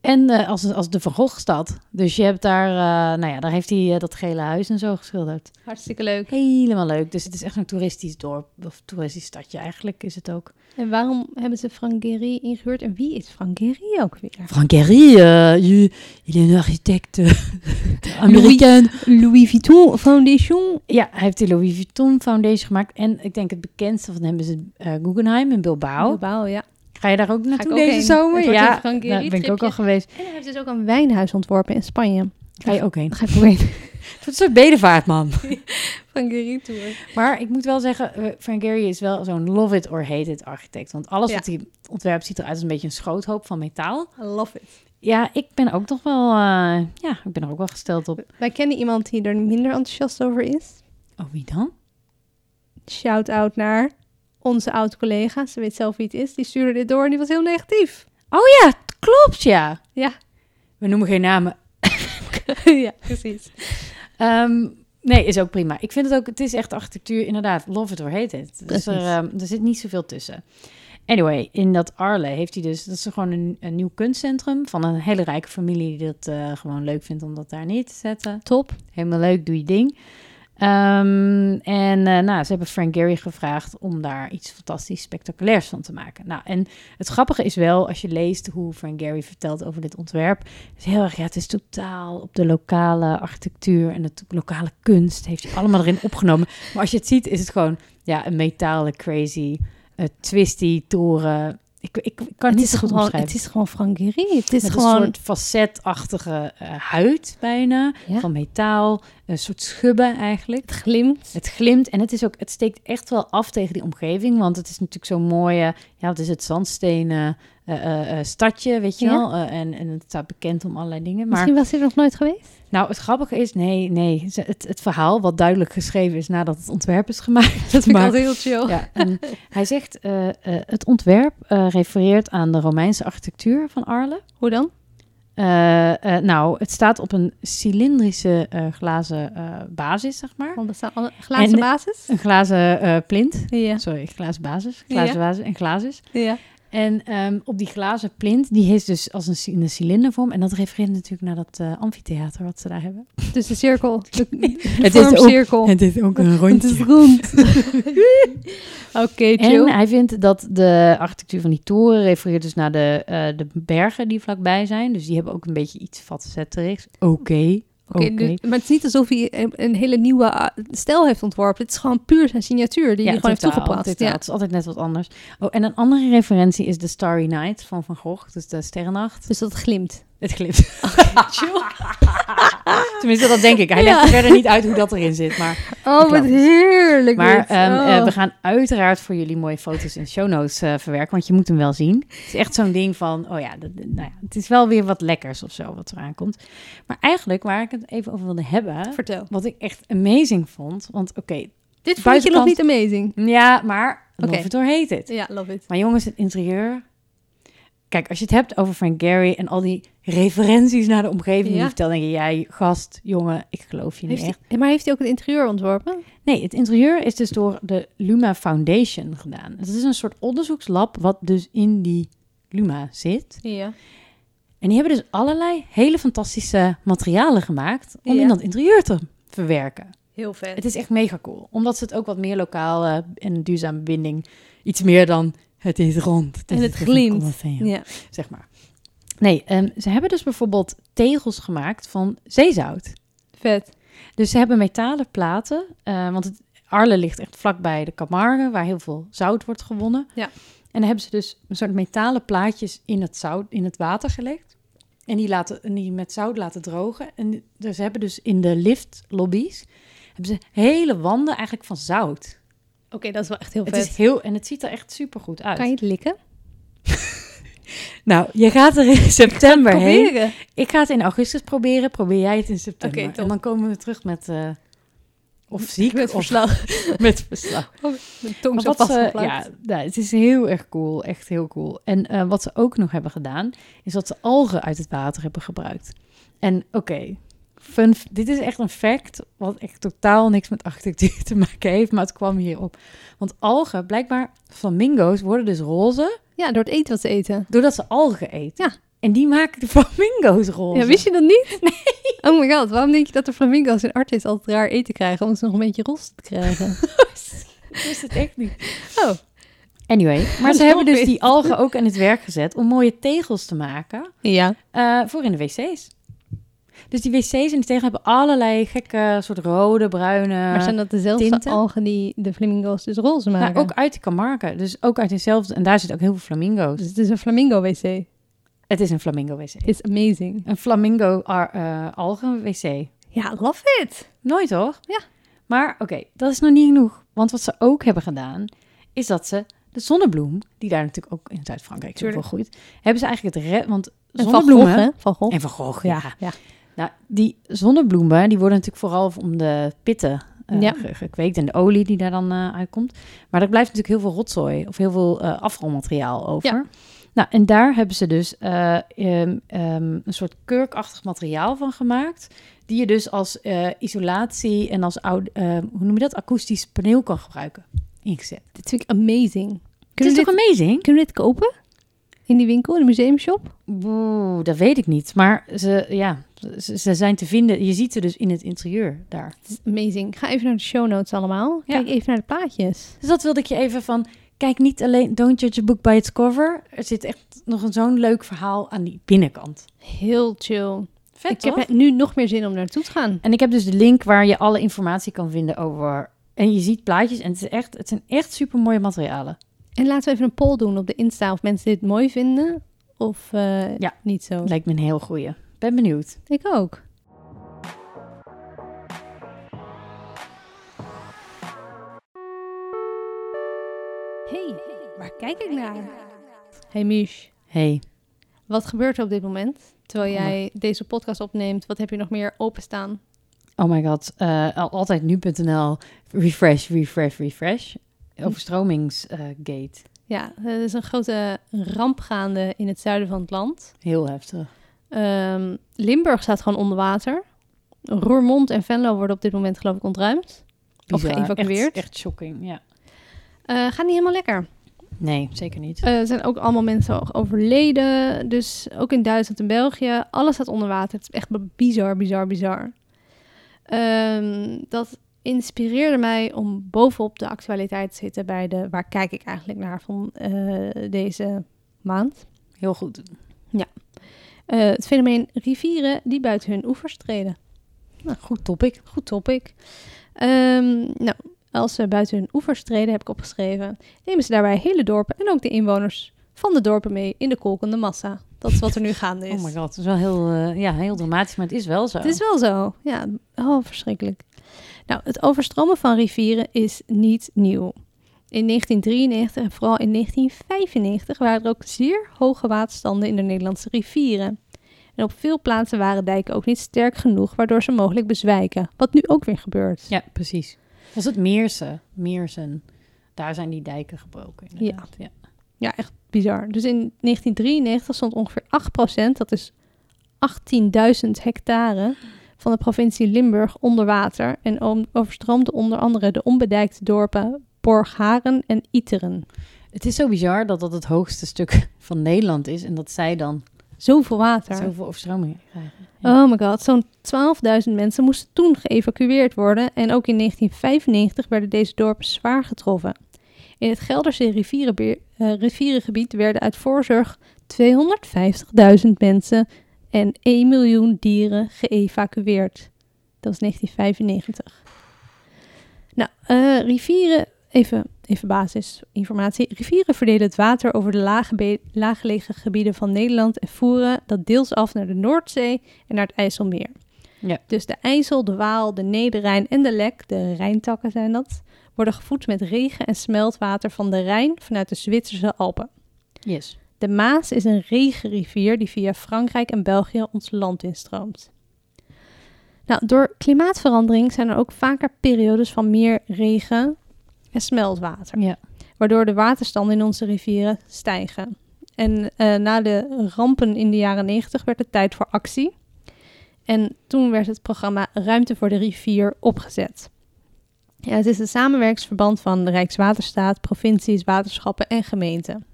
S2: En eh, als, als de Van Gogh-stad. Dus je hebt daar. eh, nou ja, daar heeft hij eh, dat gele huis en zo geschilderd.
S3: Hartstikke leuk.
S2: Helemaal leuk. Dus het is echt een toeristisch dorp. Of toeristisch stadje eigenlijk is het ook.
S3: En waarom hebben ze Frank Gehry ingehuurd? En wie is Frank Gehry ook weer?
S7: Frank Gehry,
S2: eh,
S7: euh, il il est un architecte euh, américain.
S3: Louis Vuitton Foundation.
S2: Ja, hij heeft de Louis Vuitton Foundation gemaakt. En ik denk het bekendste van hem is het eh, Guggenheim in Bilbao.
S3: Bilbao, ja.
S2: Ga je daar ook naartoe
S3: ook
S2: deze
S3: heen.
S2: zomer?
S3: Het wordt
S2: ja,
S3: een Frank Gehry
S2: daar ben ik ook al
S3: tripje.
S2: geweest.
S3: En hij heeft dus ook een wijnhuis ontworpen in Spanje.
S2: Ga je ook heen?
S3: Dat ga ik ook heen.
S2: Het is een soort bedevaart, man.
S3: Frank Gehry Tour.
S2: Maar ik moet wel zeggen, eh, Frank Gehry is wel zo'n love it or hate it architect. Want alles
S3: Ja.
S2: wat hij ontwerpt ziet eruit als een beetje een schroothoop van metaal.
S3: I love it.
S2: Ja, ik ben ook toch wel, eh, ja, ik ben er ook wel gesteld op.
S3: Wij kennen iemand die er minder enthousiast over is.
S2: Oh, wie dan?
S3: Shout-out naar onze oud-collega. Ze weet zelf wie het is. Die stuurde dit door en die was heel negatief.
S2: Oh ja, t- klopt ja.
S3: Ja.
S2: We noemen geen namen.
S3: ja, precies.
S2: Ehm, nee, is ook prima. Ik vind het ook, het is echt architectuur, inderdaad, love it or hate it. Dus
S3: Precies.
S2: er, ehm, er zit niet zoveel tussen. Anyway, in dat Arle heeft hij dus, dat is gewoon een, een nieuw kunstcentrum van een hele rijke familie die dat eh, gewoon leuk vindt om dat daar neer te zetten.
S3: Top.
S2: Helemaal leuk, doe je ding. Ehm, en eh, nou, ze hebben Frank Gehry gevraagd om daar iets fantastisch spectaculairs van te maken. Nou, en het grappige is wel, als je leest hoe Frank Gehry vertelt over dit ontwerp, is heel erg, ja, het is totaal op de lokale architectuur en de to- lokale kunst heeft hij allemaal erin opgenomen. Maar als je het ziet, is het gewoon, ja, een metalen crazy, eh, twisty toren. Ik, ik, ik kan het,
S3: Het
S2: niet
S3: is,
S2: zo goed
S3: gewoon,
S2: omschrijven.
S3: het is gewoon Frank Gehry. Het is
S2: Met
S3: gewoon...
S2: een soort facetachtige eh, huid bijna,
S3: Ja.
S2: van metaal, een soort schubben eigenlijk.
S3: Het glimt.
S2: Het glimt en het, is ook, het steekt echt wel af tegen die omgeving, want het is natuurlijk zo'n mooie, ja, wat is het, zandstenen eh, eh, eh, stadje, weet je
S3: Ja.
S2: wel. Eh, en, en het staat bekend om allerlei dingen. Maar
S3: Misschien was hij er nog nooit geweest.
S2: nou, het grappige is, nee, nee, ze- het, het verhaal wat duidelijk geschreven is nadat het ontwerp is gemaakt, dat maakt
S3: heel chill.
S2: ja, en hij zegt, eh, eh, het ontwerp eh, refereert aan de Romeinse architectuur van Arles.
S3: Hoe dan?
S2: Eh, eh, nou, het staat op een cilindrische eh, glazen eh, basis, zeg maar.
S3: Want dat zijn alle glazen
S2: En-
S3: basis.
S2: Een glazen eh, plint.
S3: Ja.
S2: Sorry, glazen basis. Glazen
S3: Ja.
S2: basis en glazes.
S3: ja.
S2: En ehm, op die glazen plint, die is dus als een, ci- in een cilindervorm. En dat refereert natuurlijk naar dat eh amfitheater wat ze daar hebben.
S3: Dus de cirkel. De,
S7: Het
S3: het
S7: is ook-
S3: cirkel.
S7: Het is ook een
S3: Het is
S7: rondje.
S3: rond. Oké,
S2: En
S3: chill.
S2: hij vindt dat de architectuur van die toren refereert dus naar de, eh, de bergen die vlakbij zijn. Dus die hebben ook een beetje iets facetterigs. Oké.
S7: Oké.
S3: Oké, dus- maar het is niet alsof hij een, een hele nieuwe eh, stijl heeft ontworpen. Het is gewoon puur zijn signatuur die hij gewoon heeft
S2: totaal,
S3: toegeplaatst.
S2: totaal.
S3: Ja.
S2: Het is altijd net wat anders. Oh, en een andere referentie is de Starry Night van Van Gogh. Dus de sterrennacht.
S3: Dus dat glimt. Oh,
S2: Het glimt. Tenminste, dat denk ik. Hij
S3: Ja.
S2: legt er verder niet uit hoe dat erin zit. Maar
S3: Oh, wat
S2: Glans.
S3: heerlijk.
S2: Maar
S3: dit.
S2: ehm,
S3: Oh.
S2: eh, we gaan uiteraard voor jullie mooie foto's in show notes eh, verwerken, want je moet hem wel zien. Het is echt zo'n ding van, oh ja, dat- dat- nou ja, het is wel weer wat lekkers of zo wat eraan komt. Maar eigenlijk waar ik het even over wilde hebben,
S3: Vertel.
S2: wat ik echt amazing vond, want oké,
S3: Dit vond je nog
S2: Buitenkant-
S3: niet amazing.
S2: ja, maar
S3: Oké.
S2: Love It or Hate It.
S3: Ja, love it.
S2: Maar jongens, het interieur. Kijk, als je het hebt over Frank Gary en al die referenties naar de omgeving die
S3: Ja.
S2: je vertelt, denk je, jij gast, jongen, ik geloof je niet
S3: Heeft
S2: echt.
S3: hij- maar heeft hij ook het interieur ontworpen?
S2: Nee, het interieur is dus door de Luma Foundation gedaan. Het is een soort onderzoekslab wat dus in die Luma zit.
S3: Ja.
S2: En die hebben dus allerlei hele fantastische materialen gemaakt om
S3: Ja.
S2: in dat interieur te verwerken.
S3: Heel vet.
S2: Het is echt mega cool, omdat ze het ook wat meer lokaal eh, en duurzame binding, iets meer dan het is rond.
S3: En
S2: is
S3: het
S2: van
S3: glimt.
S2: Colosseum,
S3: ja.
S2: Zeg maar. Nee, ehm, ze hebben dus bijvoorbeeld tegels gemaakt van zeezout.
S3: Vet.
S2: Dus ze hebben metalen platen, eh, want het, Arle ligt echt vlakbij de Camargue, waar heel veel zout wordt gewonnen.
S3: Ja.
S2: En dan hebben ze dus een soort metalen plaatjes in het, zout, in het water gelegd. En die, laten, en die met zout laten drogen. En die- dus ze hebben dus in de liftlobby's hebben ze hele wanden eigenlijk van zout.
S3: Oké, dat is wel echt heel
S2: Het
S3: vet.
S2: is heel, en het ziet er echt super goed uit.
S3: Kan je het likken?
S2: Nou, je gaat er in september heen.
S3: Proberen.
S2: Ik ga het in augustus proberen. Probeer jij het in september.
S3: Oké, top.
S2: en dan komen we terug met eh, of ziek
S3: Met
S2: of
S3: verslag.
S2: met verslag.
S3: Met tong
S2: Maar
S3: zo
S2: wat ze,
S3: vastgeplakt.
S2: ja, nou, het is heel erg cool, echt heel cool. En eh, wat ze ook nog hebben gedaan, is dat ze algen uit het water hebben gebruikt. En oké, fun, f- dit is echt een fact, wat echt totaal niks met architectuur te maken heeft, maar het kwam hierop. Want algen, blijkbaar, flamingo's worden dus roze,
S3: Ja, door het eten wat ze eten.
S2: doordat ze algen eten.
S3: Ja.
S2: En die maken de flamingo's roze.
S3: Ja, wist je dat niet? Nee. Oh my god, waarom denk je dat de flamingo's in Artis altijd raar eten krijgen om ze nog een beetje roze te krijgen?
S2: Ik wist het echt niet.
S3: Oh.
S2: Anyway, maar ze
S3: Nog
S2: hebben dus
S3: iets.
S2: die algen ook aan het werk gezet om mooie tegels te maken.
S3: Ja.
S2: Eh, voor in de wc's. Dus die wc's en die tegen hebben allerlei gekke soort rode, bruine.
S3: Maar zijn dat dezelfde
S2: eh, tinten?
S3: algen die de flamingo's dus roze
S2: Maar
S3: maken?
S2: ook uit de Camargue. Dus ook uit dezelfde. En daar zitten ook heel veel flamingo's.
S3: Dus het is een flamingo-wc.
S2: Het is een flamingo wc.
S3: It's amazing.
S2: Een flamingo ar- eh, algen wc.
S3: Ja, love it.
S2: Nooit toch?
S3: Ja.
S2: Maar oké, dat is nog niet genoeg. Want wat ze ook hebben gedaan, is dat ze de zonnebloem, die daar natuurlijk ook in Zuid-Frankrijk heel veel
S3: Tuurlijk.
S2: groeit, hebben ze eigenlijk het red. Want
S3: En van
S2: zonnebloemen.
S3: Gogh, hè? Van Gogh.
S2: En Van Gogh, ja.
S3: ja.
S2: Nou, die zonnebloemen, die worden natuurlijk vooral om de pitten eh,
S3: Ja.
S2: ge- gekweekt en de olie die daar dan eh, uitkomt. Maar er blijft natuurlijk heel veel rotzooi of heel veel eh, afvalmateriaal over.
S3: Ja.
S2: Nou, en daar hebben ze dus eh, ehm, ehm, een soort kurkachtig materiaal van gemaakt. Die je dus als eh, isolatie en als oud, eh, hoe noem je dat, akoestisch paneel kan gebruiken. Ingezet.
S3: Dit vind ik amazing.
S2: Het is
S3: Kunnen we, dit,
S2: toch amazing?
S3: kunnen we dit kopen? In die winkel, in de museumshop?
S2: Oeh, dat weet ik niet. Maar ze, ja, ze, ze zijn te vinden. Je ziet ze dus in het interieur daar.
S3: Het is amazing. Ga even naar de show notes allemaal. Kijk even naar de plaatjes.
S2: Dus dat wilde ik je even van. Kijk niet alleen Don't Judge a Book by its cover. Er zit echt nog een zo'n leuk verhaal aan die binnenkant.
S3: Heel chill.
S2: Vet
S3: ik heb nu nog meer zin om naartoe te gaan.
S2: En ik heb dus de link waar je alle informatie kan vinden over. En je ziet plaatjes en het, is echt, het zijn echt super mooie materialen.
S3: En laten we even een poll doen op de Insta of mensen dit mooi vinden of eh,
S2: Ja.
S3: niet zo.
S2: Lijkt me een heel goeie. Ben benieuwd.
S3: Ik ook. Hey, waar kijk ik naar? Hey Mich,
S2: Hey.
S3: wat gebeurt er op dit moment? Terwijl jij deze podcast opneemt, wat heb je nog meer openstaan?
S2: Oh my god. eh, al altijd nu.nl. Refresh, refresh, refresh. eh, Overstromingsgate.
S3: Ja, er is een grote ramp gaande in het zuiden van het land.
S2: heel heftig.
S3: Ehm, Limburg staat gewoon onder water. Roermond en Venlo worden op dit moment geloof ik ontruimd. Of
S2: Bizar.
S3: geëvacueerd.
S2: Echt, echt shocking, ja.
S3: Eh gaat niet helemaal lekker.
S2: Nee, zeker niet.
S3: Eh, Er zijn ook allemaal mensen overleden. Dus ook in Duitsland en België. Alles staat onder water. Het is echt bizar, bizar, bizar. Ehm, dat inspireerde mij om bovenop de actualiteit te zitten bij de waar kijk ik eigenlijk naar van eh, deze maand.
S2: Heel goed.
S3: Eh, het fenomeen rivieren die buiten hun oevers treden. Nou, goed topic. Goed topic. Ehm, nou, als ze buiten hun oevers treden, heb ik opgeschreven, nemen ze daarbij hele dorpen en ook de inwoners van de dorpen mee in de kolkende massa. Dat is wat er nu gaande is.
S2: Oh my god, dat is wel heel, eh, ja, heel dramatisch, maar het is wel zo.
S3: Het is wel zo. Ja, oh, verschrikkelijk. Nou, het overstromen van rivieren is niet nieuw. In 1993 en vooral in 1995 waren er ook zeer hoge waterstanden in de Nederlandse rivieren. En op veel plaatsen waren dijken ook niet sterk genoeg, waardoor ze mogelijk bezwijken. Wat nu ook weer gebeurt.
S2: Ja, precies. Was het Meersen? Meersen. Daar zijn die dijken gebroken. Inderdaad. Ja.
S3: Ja, echt bizar. Dus in 1993 stond ongeveer 8%, dat is 18.000 hectare, van de provincie Limburg onder water. En om- overstroomde onder andere de onbedijkte dorpen Borgharen en Iteren.
S2: Het is zo bizar dat dat het hoogste stuk van Nederland is en dat zij dan
S3: Zoveel water.
S2: zoveel overstromingen krijgen.
S3: Oh my god, zo'n 12.000 mensen moesten toen geëvacueerd worden en ook in 1995 werden deze dorpen zwaar getroffen. In het Gelderse rivierenbeer- eh, rivierengebied werden uit voorzorg 250.000 mensen en 1 miljoen dieren geëvacueerd. Dat was 1995. Nou, eh, rivieren, even, even basisinformatie. Rivieren verdelen het water over de lage laaggelegen gebieden van Nederland en voeren dat deels af naar de Noordzee en naar het IJsselmeer.
S2: Ja.
S3: Dus de IJssel, de Waal, de Nederrijn en de Lek, de Rijntakken zijn dat, worden gevoed met regen en smeltwater van de Rijn vanuit de Zwitserse Alpen.
S2: Yes.
S3: De Maas is een regenrivier die via Frankrijk en België ons land instroomt. Nou, door klimaatverandering zijn er ook vaker periodes van meer regen en smeltwater
S2: Ja.
S3: waardoor de waterstanden in onze rivieren stijgen. En eh, na de rampen in de jaren 90 werd het tijd voor actie. En toen werd het programma Ruimte voor de Rivier opgezet. Ja, het is een samenwerksverband van de Rijkswaterstaat, provincies, waterschappen en gemeenten.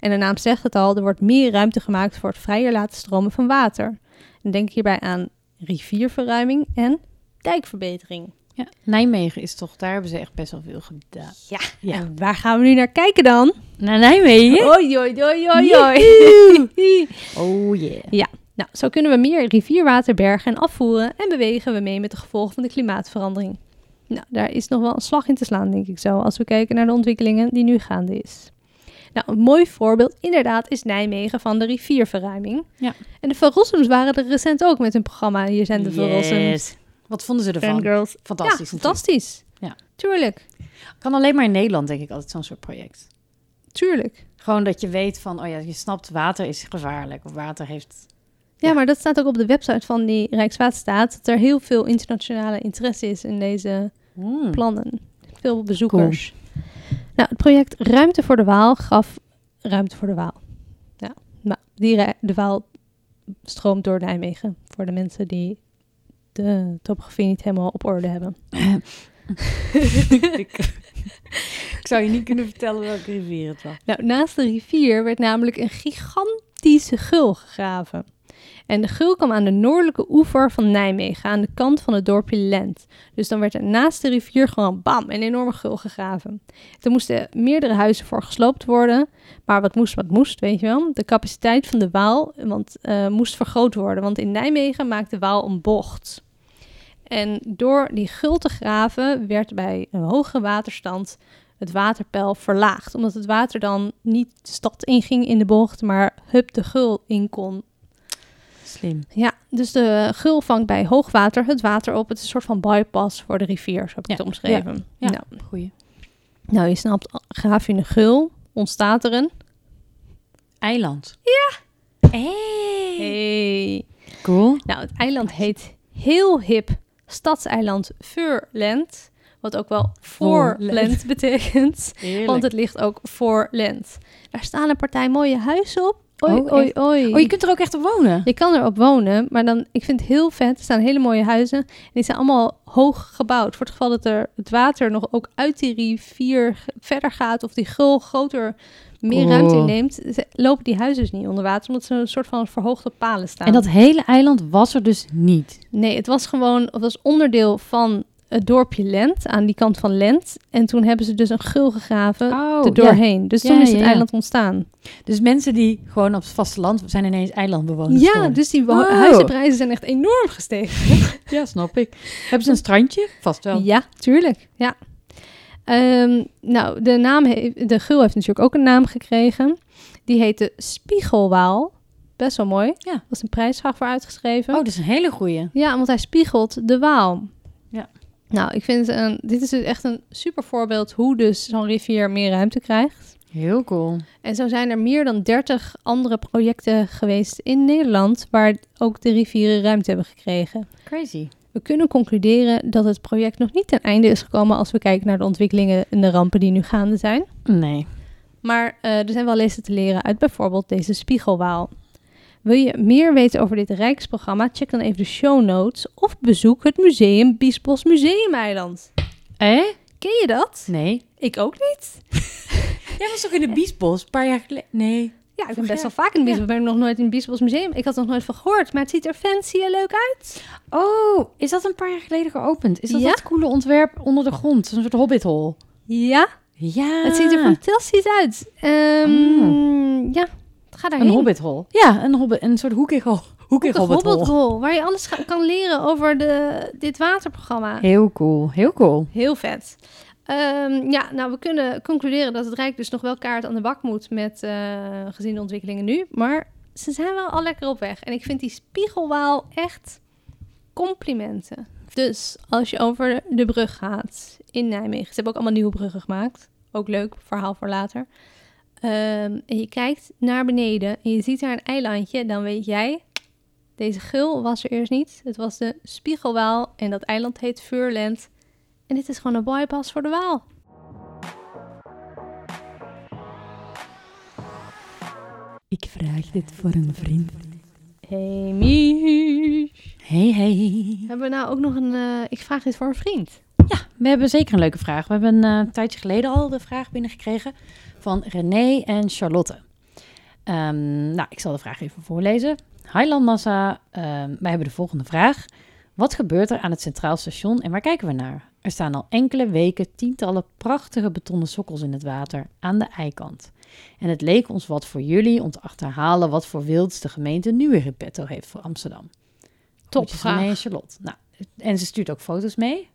S3: En de naam zegt het al, er wordt meer ruimte gemaakt voor het vrijer laten stromen van water. En denk hierbij aan rivierverruiming en dijkverbetering.
S2: Ja. Nijmegen is toch, daar hebben ze echt best wel veel gedaan.
S3: Ja,
S2: Ja. Oh.
S3: en waar gaan we nu naar kijken dan?
S2: Naar Nijmegen?
S3: Oi, oi, oi, oi, oi.
S2: Oh yeah.
S3: Nou, zo kunnen we meer rivierwater bergen en afvoeren en bewegen we mee met de gevolgen van de klimaatverandering. Nou, daar is nog wel een slag in te slaan, denk ik zo, als we kijken naar de ontwikkelingen die nu gaande is. Nou, een mooi voorbeeld inderdaad is Nijmegen van de rivierverruiming.
S2: Ja.
S3: En de Van Rossums waren er recent ook met hun programma Hier zijn de Van Rossums.
S2: Yes. Wat vonden ze ervan?
S3: Fangirls.
S2: Fantastisch.
S3: ja,
S2: natuurlijk.
S3: fantastisch.
S2: Ja.
S3: Tuurlijk,
S2: Kan alleen maar in Nederland, denk ik, altijd zo'n soort project.
S3: tuurlijk.
S2: Gewoon dat je weet van, oh ja, je snapt, water is gevaarlijk. Of water heeft...
S3: Ja,
S2: Ja.
S3: maar dat staat ook op de website van die Rijkswaterstaat, dat er heel veel internationale interesse is in deze
S2: Hmm.
S3: plannen. Veel bezoekers. Nou, het project Ruimte voor de Waal gaf Ruimte voor de Waal. Ja, maar die rij- de Waal stroomt door Nijmegen. Voor de mensen die de topografie niet helemaal op orde hebben.
S2: ik, ik zou je niet kunnen vertellen welke rivier het was.
S3: Nou, naast de rivier werd namelijk een gigantische gul gegraven. En de gul kwam aan de noordelijke oever van Nijmegen, aan de kant van het dorpje Lent. Dus dan werd er naast de rivier gewoon bam, een enorme gul gegraven. Er moesten meerdere huizen voor gesloopt worden, maar wat moest, wat moest, weet je wel. De capaciteit van de Waal want, eh, moest vergroot worden, want in Nijmegen maakt de Waal een bocht. En door die gul te graven werd bij een hoge waterstand het waterpeil verlaagd. Omdat het water dan niet de stad inging in de bocht, maar hup de gul in kon.
S2: Slim.
S3: Ja, dus de gul vangt bij hoogwater het water op. Het is een soort van bypass voor de rivier, zo heb ik
S2: Ja,
S3: het omschreven.
S2: ja.
S3: Nou,
S2: Goeie.
S3: nou, je snapt, graaf je een gul, ontstaat er een...
S2: Eiland.
S3: Hey.
S2: Cool.
S3: Nou, het eiland heet heel hip Stadseiland Furland. Wat ook wel voorland
S2: Voorland.
S3: betekent.
S2: Heerlijk.
S3: Want het ligt ook voor Lent. Daar staan een partij mooie huizen op. Oei,
S2: Oh,
S3: oei,
S2: echt?
S3: oei.
S2: Oh, je kunt er ook echt op wonen?
S3: Je kan erop wonen, maar dan, ik vind het heel vet. Er staan hele mooie huizen. En die zijn allemaal hoog gebouwd. Voor het geval dat er het water nog ook uit die rivier g- verder gaat... of die gul groter meer
S2: Cool.
S3: ruimte inneemt... ze- lopen die huizen dus niet onder water... omdat ze een soort van verhoogde palen staan.
S2: En dat hele eiland was er dus niet.
S3: Nee, het was gewoon het was onderdeel van eh, het dorpje Lent, aan die kant van Lent. En toen hebben ze dus een gul gegraven
S2: Oh,
S3: er doorheen. Dus
S2: Ja,
S3: toen is
S2: ja,
S3: het
S2: ja.
S3: eiland ontstaan.
S2: Dus mensen die gewoon op het vasteland zijn ineens eilandbewoners
S3: Ja,
S2: geworden.
S3: dus die wo-
S2: Oh.
S3: huizenprijzen zijn echt enorm gestegen.
S2: Ja, snap ik. Hebben ze een strandje? Vast wel.
S3: Ja, tuurlijk. Ja. Ehm, nou, de, naam he- de gul heeft natuurlijk ook een naam gekregen. Die heette Spiegelwaal. Best wel mooi.
S2: Ja.
S3: Was een prijsvraag voor uitgeschreven.
S2: Oh, dat is een hele goeie.
S3: Ja, want hij spiegelt de Waal.
S2: Ja.
S3: Nou, ik vind het een, dit is dus echt een super voorbeeld hoe dus zo'n rivier meer ruimte krijgt.
S2: Heel cool.
S3: En zo zijn er meer dan 30 andere projecten geweest in Nederland waar ook de rivieren ruimte hebben gekregen.
S2: Crazy.
S3: We kunnen concluderen dat het project nog niet ten einde is gekomen als we kijken naar de ontwikkelingen en de rampen die nu gaande zijn.
S2: Nee.
S3: Maar eh, er zijn wel lessen te leren uit bijvoorbeeld deze spiegelwaal. Wil je meer weten over dit Rijksprogramma? Check dan even de show notes of bezoek het museum Biesbos Museumeiland.
S2: Eh?
S3: Ken je dat?
S2: Nee.
S3: Ik ook niet.
S2: Jij was toch in de Biesbos een paar jaar geleden? Nee.
S3: Ja, ik ben
S2: Vorig
S3: best wel
S2: jaar.
S3: vaak in het Biesbos, maar ik ben nog nooit in het Biesbos Museum. Ik had er nog nooit van gehoord, maar het ziet er fancy en leuk uit.
S2: Oh, is dat een paar jaar geleden geopend? Is dat
S3: Ja.
S2: dat coole ontwerp onder de grond? Een soort hobbithol?
S3: Ja, Ah.
S2: Ja.
S3: het ziet er fantastisch uit. Ehm, Ja, ga daarheen.
S2: Een hobbithol? Ja, een, hobbit, een soort hoekig, hol- hoekig
S3: Ook een
S2: hobbithol.
S3: hobbetrol, waar je alles ga- kan leren over de, dit waterprogramma.
S2: Heel cool. Heel cool.
S3: Heel vet. Ehm, ja, nou, we kunnen concluderen dat het Rijk dus nog wel kaart aan de bak moet met eh, gezien de ontwikkelingen nu. Maar ze zijn wel al lekker op weg. En ik vind die spiegelwaal echt complimenten. Dus als je over de brug gaat in Nijmegen. Ze hebben ook allemaal nieuwe bruggen gemaakt. Ook leuk, verhaal voor later. Ehm, en je kijkt naar beneden en je ziet daar een eilandje. Dan weet jij, deze gul was er eerst niet. Het was de spiegelwaal en dat eiland heet Vuurland. En dit is gewoon een bypass voor de Waal.
S2: Ik vraag dit voor een vriend.
S3: Hey Mies.
S2: Hey, hey.
S3: Hebben we nou ook nog een... eh, ik vraag dit voor een vriend.
S2: We hebben zeker een leuke vraag. We hebben eh, een tijdje geleden al de vraag binnengekregen van René en Charlotte. Ehm, nou, ik zal de vraag even voorlezen. Hi Landmassa, ehm, wij hebben de volgende vraag. Wat gebeurt er aan het Centraal Station en waar kijken we naar? Er staan al enkele weken tientallen prachtige betonnen sokkels in het water aan de eikant. En het leek ons wat voor jullie om te achterhalen wat voor wilds de gemeente nu weer in petto heeft voor Amsterdam.
S3: Top
S2: Groetjes, René en
S3: vraag.
S2: Charlotte. Nou, en ze stuurt ook foto's mee.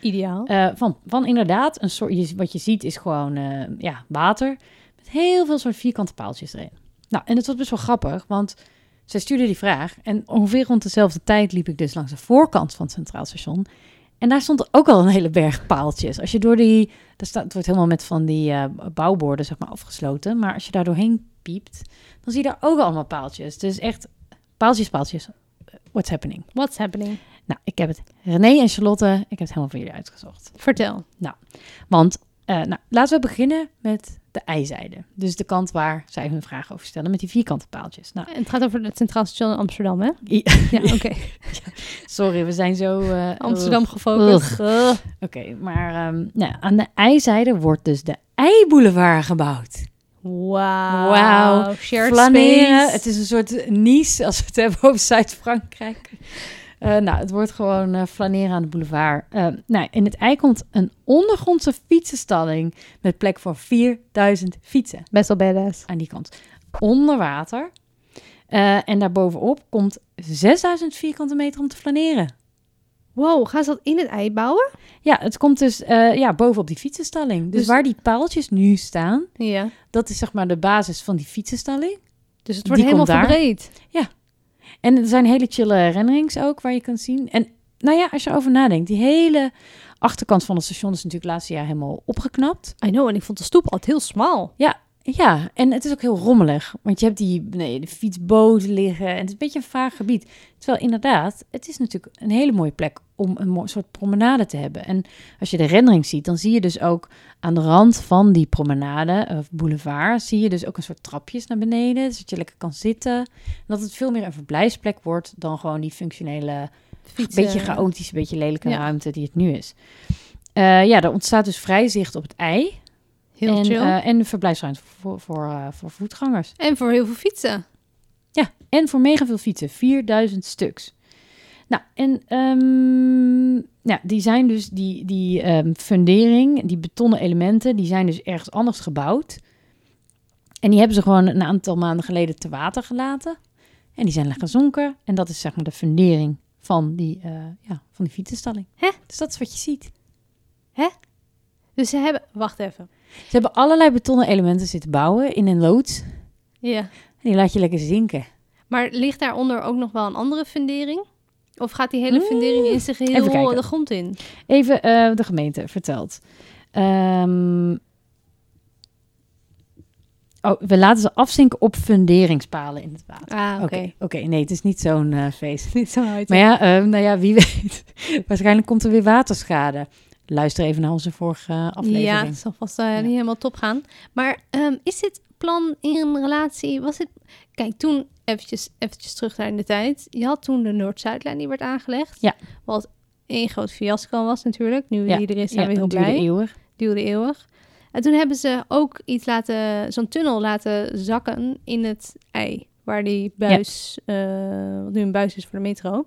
S3: Ideaal.
S2: Eh, van, van inderdaad, een soort, je- wat je ziet is gewoon eh, ja, water met heel veel soort vierkante paaltjes erin. Nou, en het was best wel grappig, want zij stuurde die vraag en ongeveer rond dezelfde tijd liep ik dus langs de voorkant van het Centraal Station. En daar stond ook al een hele berg paaltjes. Als je door die, daar staat, het wordt helemaal met van die eh, bouwborden zeg maar afgesloten, maar als je daar doorheen piept, dan zie je daar ook allemaal paaltjes. Dus echt paaltjes, paaltjes, eh, what's happening?
S3: What's happening?
S2: Nou, ik heb het, René en Charlotte, ik heb het helemaal voor jullie uitgezocht.
S3: Vertel.
S2: Want eh, nou, laten we beginnen met de ijzijde. Dus de kant waar zij hun vraag over stellen met die vierkante paaltjes. Nou,
S3: En het gaat over het Centraal Station in Amsterdam, hè?
S2: i-
S3: Ja, oké.
S2: sorry, we zijn zo... eh,
S3: Amsterdam
S2: ugh.
S3: gefocust. Ugh.
S2: Oké, maar ehm, nou, aan de ijzijde wordt dus de ei-boulevard gebouwd.
S3: Wauw.
S2: Wauw.
S3: Shared
S2: flaneren.
S3: space.
S2: Het is een soort Nice als we het hebben over Zuid-Frankrijk. Eh, nou, het wordt gewoon eh, flaneren aan de boulevard. Eh, nou, in het ei komt een ondergrondse fietsenstalling met plek voor 4000 fietsen.
S3: Best wel badass.
S2: aan die kant onder water. Eh, en daarbovenop komt 6000 vierkante meter om te flaneren.
S3: Wow, gaan ze dat in het ei bouwen?
S2: Ja, het komt dus eh, ja, bovenop die fietsenstalling. Dus,
S3: Dus-
S2: waar die paaltjes nu staan,
S3: Ja.
S2: dat is zeg maar de basis van die fietsenstalling.
S3: Dus het
S2: Die
S3: wordt helemaal
S2: komt daar.
S3: verbreed.
S2: En er zijn hele chille renderings ook waar je kan zien. En nou ja, als je erover nadenkt, die hele achterkant van het station is natuurlijk laatste jaar helemaal opgeknapt.
S3: I know, en ik vond de stoep altijd heel smal.
S2: Ja, en het is ook heel rommelig. Want je hebt die nee, de fietsboten liggen. En het is een beetje een vaag gebied. Terwijl inderdaad, het is natuurlijk een hele mooie plek om een mooi soort promenade te hebben. En als je de rendering ziet, dan zie je dus ook aan de rand van die promenade of boulevard, zie je dus ook een soort trapjes naar beneden. Zodat je lekker kan zitten. En dat het veel meer een verblijfsplek wordt dan gewoon die functionele
S3: Fietsen.
S2: beetje chaotische, beetje lelijke
S3: Ja.
S2: ruimte die het nu is. Eh, ja, er ontstaat dus vrij zicht op het ei
S3: Heel
S2: en,
S3: chill.
S2: eh, en verblijfsruimte voor, voor, eh, voor voetgangers.
S3: en voor heel veel fietsen.
S2: En voor mega veel fietsen, 4000 stuks. Nou, en ehm, ja, die zijn dus, die, die ehm, fundering, die betonnen elementen, die zijn dus ergens anders gebouwd. En die hebben ze gewoon een aantal maanden geleden te water gelaten. En die zijn gezonken. En dat is zeg maar de fundering van die, eh, ja, van die fietsenstalling.
S3: Hè?
S2: Dus dat is wat je ziet.
S3: Dus ze hebben... Wacht even.
S2: Ze hebben allerlei betonnen elementen zitten bouwen in een loods. En
S3: Ja.
S2: die laat je lekker zinken.
S3: Maar ligt daaronder ook nog wel een andere fundering? Of gaat die hele fundering in zijn
S2: Hmm. Even
S3: geheel
S2: kijken.
S3: de grond in?
S2: Even eh, de gemeente vertelt. Ehm, oh, we laten ze afzinken op funderingspalen in het water.
S3: Ah, oké.
S2: Oké, nee, het is niet zo'n eh, feest.
S3: Niet zo uit.
S2: Maar ja, eh, nou ja, wie weet. Waarschijnlijk komt er weer waterschade. Luister even naar onze vorige eh,
S3: Ja,
S2: aflevering.
S3: het zal vast eh, niet helemaal top gaan. Maar ehm, is dit plan in relatie... Was het... Kijk, toen eventjes, eventjes terug naar in de tijd. Je had toen de Noord-Zuidlijn die werd aangelegd.
S2: Ja.
S3: Wat één groot fiasco was natuurlijk. Nu
S2: Ja,
S3: die er is, zijn we heel
S2: dat duurde
S3: blij.
S2: eeuwig.
S3: Duurde eeuwig. En toen hebben ze ook iets laten... Zo'n tunnel laten zakken in het ei. Waar die buis... eh, wat nu een buis is voor de metro.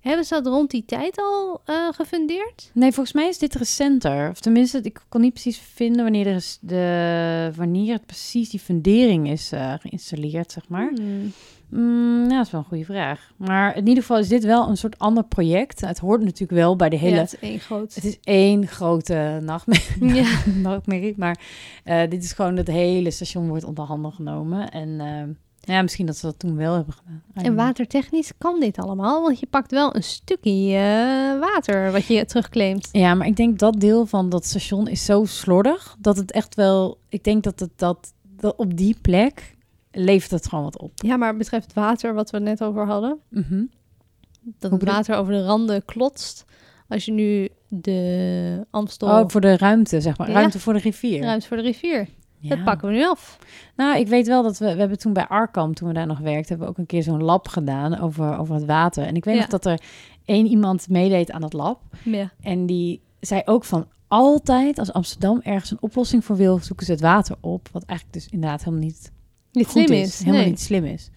S3: Hebben ze dat rond die tijd al eh, gefundeerd?
S2: Nee, volgens mij is dit recenter. Of tenminste, ik kon niet precies vinden wanneer, er is de, wanneer precies die fundering is eh, geïnstalleerd, zeg maar.
S3: Hmm.
S2: Mm, nou, dat is wel een goede vraag. Maar in ieder geval is dit wel een soort ander project. Het hoort natuurlijk wel bij de hele...
S3: Ja, het is één groot...
S2: Het is één grote nachtmerrie,
S3: Ja.
S2: nachtmerrie, maar eh, dit is gewoon dat hele station wordt onder handen genomen. En eh, nou ja, misschien dat ze dat toen wel hebben gedaan. I don't
S3: En
S2: know.
S3: watertechnisch kan dit allemaal, want je pakt wel een stukje eh, water wat je terugclaimt.
S2: Ja, maar ik denk dat deel van dat station is zo slordig dat het echt wel... Ik denk dat het dat, dat op die plek levert het gewoon wat op.
S3: Ja, maar betreft water wat we het net over hadden,
S2: Mhm.
S3: dat
S2: Hoe
S3: het
S2: bedoel-
S3: water over de randen klotst. Als je nu de Amstel
S2: Oh, voor de ruimte, zeg maar.
S3: Ja.
S2: Ruimte voor de rivier.
S3: ruimt voor de rivier,
S2: Ja.
S3: dat pakken we nu af.
S2: Nou, ik weet wel dat we, we hebben toen bij Arkham, toen we daar nog werkten, hebben we ook een keer zo'n lab gedaan over, over het water. En ik weet
S3: Ja.
S2: nog dat er één iemand meedeed aan dat lab.
S3: Ja.
S2: En die zei ook van altijd als Amsterdam ergens een oplossing voor wil, zoeken ze het water op. Wat eigenlijk dus inderdaad helemaal niet
S3: Niet
S2: goed
S3: slim is.
S2: Helemaal
S3: nee.
S2: niet slim is.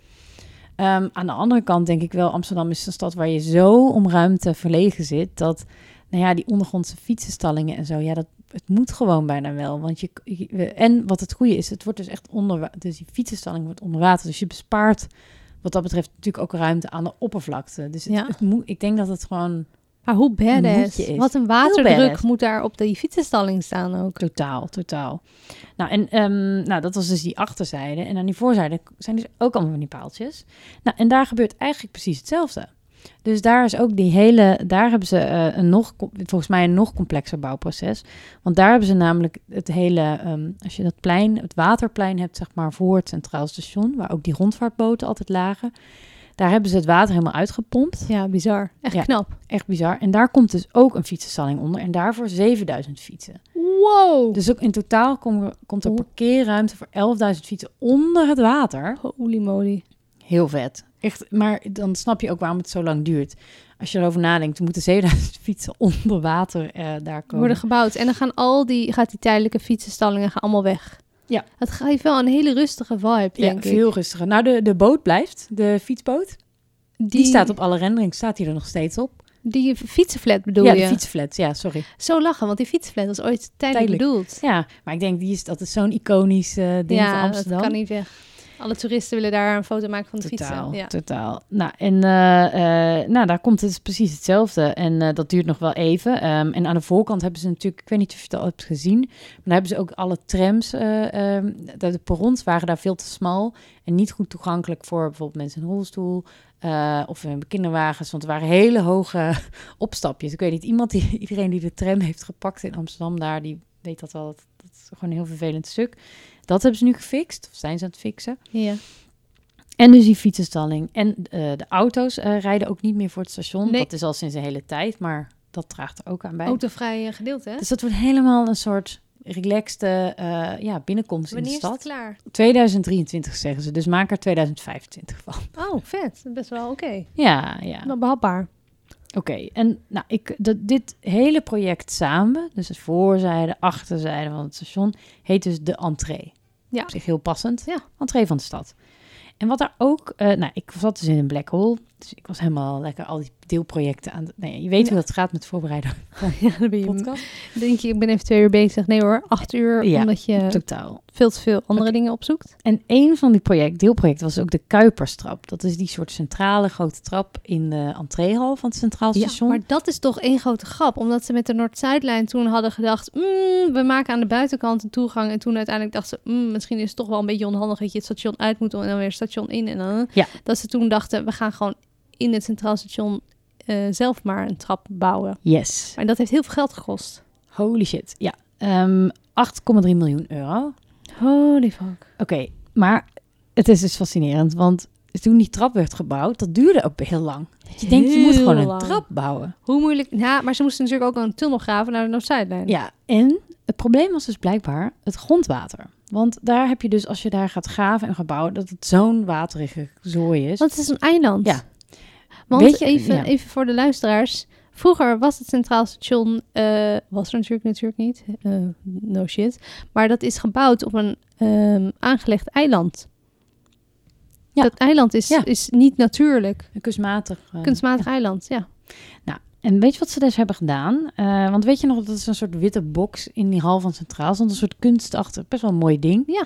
S2: Ehm, aan de andere kant denk ik wel, Amsterdam is een stad waar je zo om ruimte verlegen zit. Dat, nou ja, die ondergrondse fietsenstallingen en zo, ja, dat, het moet gewoon bijna wel. Want je, je- we- en wat het goede is, het wordt dus echt onder, wa- dus die fietsenstalling wordt onder water. Dus je bespaart wat dat betreft natuurlijk ook ruimte aan de oppervlakte. Dus het,
S3: Ja.
S2: het moet, ik denk dat het gewoon
S3: Maar hoe badass.
S2: Moet je is.
S3: Wat een
S2: Heel
S3: waterdruk
S2: badass.
S3: moet daar op die fietsenstalling staan ook.
S2: Totaal, totaal. Nou, en ehm, nou, dat was dus die achterzijde. En aan die voorzijde k- zijn dus ook allemaal van die paaltjes. Nou, en daar gebeurt eigenlijk precies hetzelfde. Dus daar is ook die hele, daar hebben ze eh, een nog, com- volgens mij een nog complexer bouwproces. Want daar hebben ze namelijk het hele, ehm, als je dat plein, het waterplein hebt, zeg maar, voor het Centraal Station, waar ook die rondvaartboten altijd lagen. Daar hebben ze het water helemaal uitgepompt.
S3: Ja, bizar. Echt
S2: Ja.
S3: knap.
S2: Echt bizar. En daar komt dus ook een fietsenstalling onder. En daarvoor 7000 fietsen.
S3: Wow.
S2: Dus ook in totaal kom- komt er parkeerruimte voor 11.000 fietsen onder het water.
S3: Holy moly.
S2: Heel vet. Echt, maar dan snap je ook waarom het zo lang duurt. Als je erover nadenkt, er moeten 7000 fietsen onder water eh, daar komen.
S3: worden gebouwd. En dan gaan al die, gaat die tijdelijke fietsenstallingen gaan allemaal weg.
S2: Ja.
S3: Het geeft wel een hele rustige vibe,
S2: ja,
S3: denk ik.
S2: veel rustiger. Nou, de, de boot blijft, de fietsboot.
S3: Die,
S2: Die, staat op alle renderings, staat die er nog steeds op.
S3: Die fietsenflat bedoel
S2: ja,
S3: je?
S2: de fietsflat, ja, sorry.
S3: Zo lachen, want die fietsenflat was ooit tijdelijk,
S2: Tijdelijk.
S3: bedoeld.
S2: Ja, maar ik denk, die is, dat is zo'n iconisch eh, ding van
S3: ja,
S2: Amsterdam.
S3: dat kan niet weg. Alle toeristen willen daar een foto maken van de
S2: Totaal,
S3: fietsen. Ja.
S2: totaal. Nou, en eh, eh, nou, daar komt het precies hetzelfde. En eh, dat duurt nog wel even. Ehm, en aan de voorkant hebben ze natuurlijk, ik weet niet of je het al hebt gezien, maar daar hebben ze ook alle trams. eh, ehm, de, de perrons waren daar veel te smal en niet goed toegankelijk voor bijvoorbeeld mensen in een rolstoel eh, of in kinderwagens. Want er waren hele hoge opstapjes. Ik weet niet, iemand die, iedereen die de tram heeft gepakt in Amsterdam daar, die weet dat wel. Dat, dat is gewoon een heel vervelend stuk. Dat hebben ze nu gefixt, of zijn ze aan het fixen.
S3: Ja.
S2: En dus die fietsenstalling. En eh, de auto's eh, rijden ook niet meer voor het station.
S3: Nee.
S2: Dat is al sinds een hele tijd, maar dat draagt er ook aan bij.
S3: Autovrij eh, gedeelte, hè?
S2: Dus dat wordt helemaal een soort relaxte eh, ja, binnenkomst
S3: Wanneer
S2: in
S3: is
S2: de
S3: het
S2: stad.
S3: klaar?
S2: 2023 zeggen ze, dus maak er 2025 van.
S3: Oh, vet. Best wel oké.
S2: Ja, ja.
S3: Nou, behapbaar.
S2: Oké, en nou, ik, dat, dit hele project samen, dus het voorzijde, achterzijde van het station, heet dus de entree.
S3: Ja.
S2: Op zich heel passend.
S3: Ja.
S2: Entree van de stad. En wat daar ook, eh, nou, ik zat dus in een black hole. Dus ik was helemaal lekker al die deelprojecten aan. het- Nee, je weet hoe dat gaat met voorbereiden
S3: Ja, dan ben je...
S2: podcast.
S3: Denk je, ik ben even twee uur bezig. Nee hoor, acht uur,
S2: Ja.
S3: omdat je
S2: Totaal.
S3: veel te veel andere dingen opzoekt.
S2: En een van die project, deelprojecten was ook de Kuiperstrap. Dat is die soort centrale grote trap in de entreehal van het Centraal Station.
S3: maar dat is toch één grote grap. Omdat ze met de Noord-Zuidlijn toen hadden gedacht... "Mm, we maken aan de buitenkant een toegang. En toen uiteindelijk dachten ze... "Mm, misschien is het toch wel een beetje onhandig... dat je het station uit moet en dan weer het station in. En dan,
S2: Ja.
S3: Dat ze toen dachten... we gaan gewoon in het Centraal Station eh, zelf maar een trap bouwen.
S2: Yes.
S3: En dat heeft heel veel geld gekost.
S2: Holy shit. Ja. Ehm 8,3 miljoen euro.
S3: Holy fuck.
S2: Oké, maar het is dus fascinerend, want toen die trap werd gebouwd, dat duurde ook heel lang. Dat Je denkt, je moet
S3: Heel
S2: gewoon een
S3: lang.
S2: trap bouwen.
S3: Hoe moeilijk... Ja, maar ze moesten natuurlijk ook een tunnel graven naar de Noord-Zuidlijn.
S2: Ja, en het probleem was dus blijkbaar het grondwater. Want daar heb je dus, als je daar gaat graven en gaat bouwen, dat het zo'n waterige zooi is.
S3: Want het is een eiland.
S2: Ja.
S3: Want
S2: Weet je-
S3: even,
S2: ja.
S3: even voor de luisteraars. Vroeger was het Centraal Station, eh, was er natuurlijk, natuurlijk niet, eh, no shit. Maar dat is gebouwd op een ehm, aangelegd eiland.
S2: Ja.
S3: Dat eiland is,
S2: Ja.
S3: is niet natuurlijk.
S2: Een kunstmatig. eh,
S3: Kunstmatig eiland, ja.
S2: En weet je wat ze dus hebben gedaan? Eh, want weet je nog, dat is een soort witte box in die hal van Centraal. Stond een soort kunstachtig, best wel een mooi ding.
S3: Ja.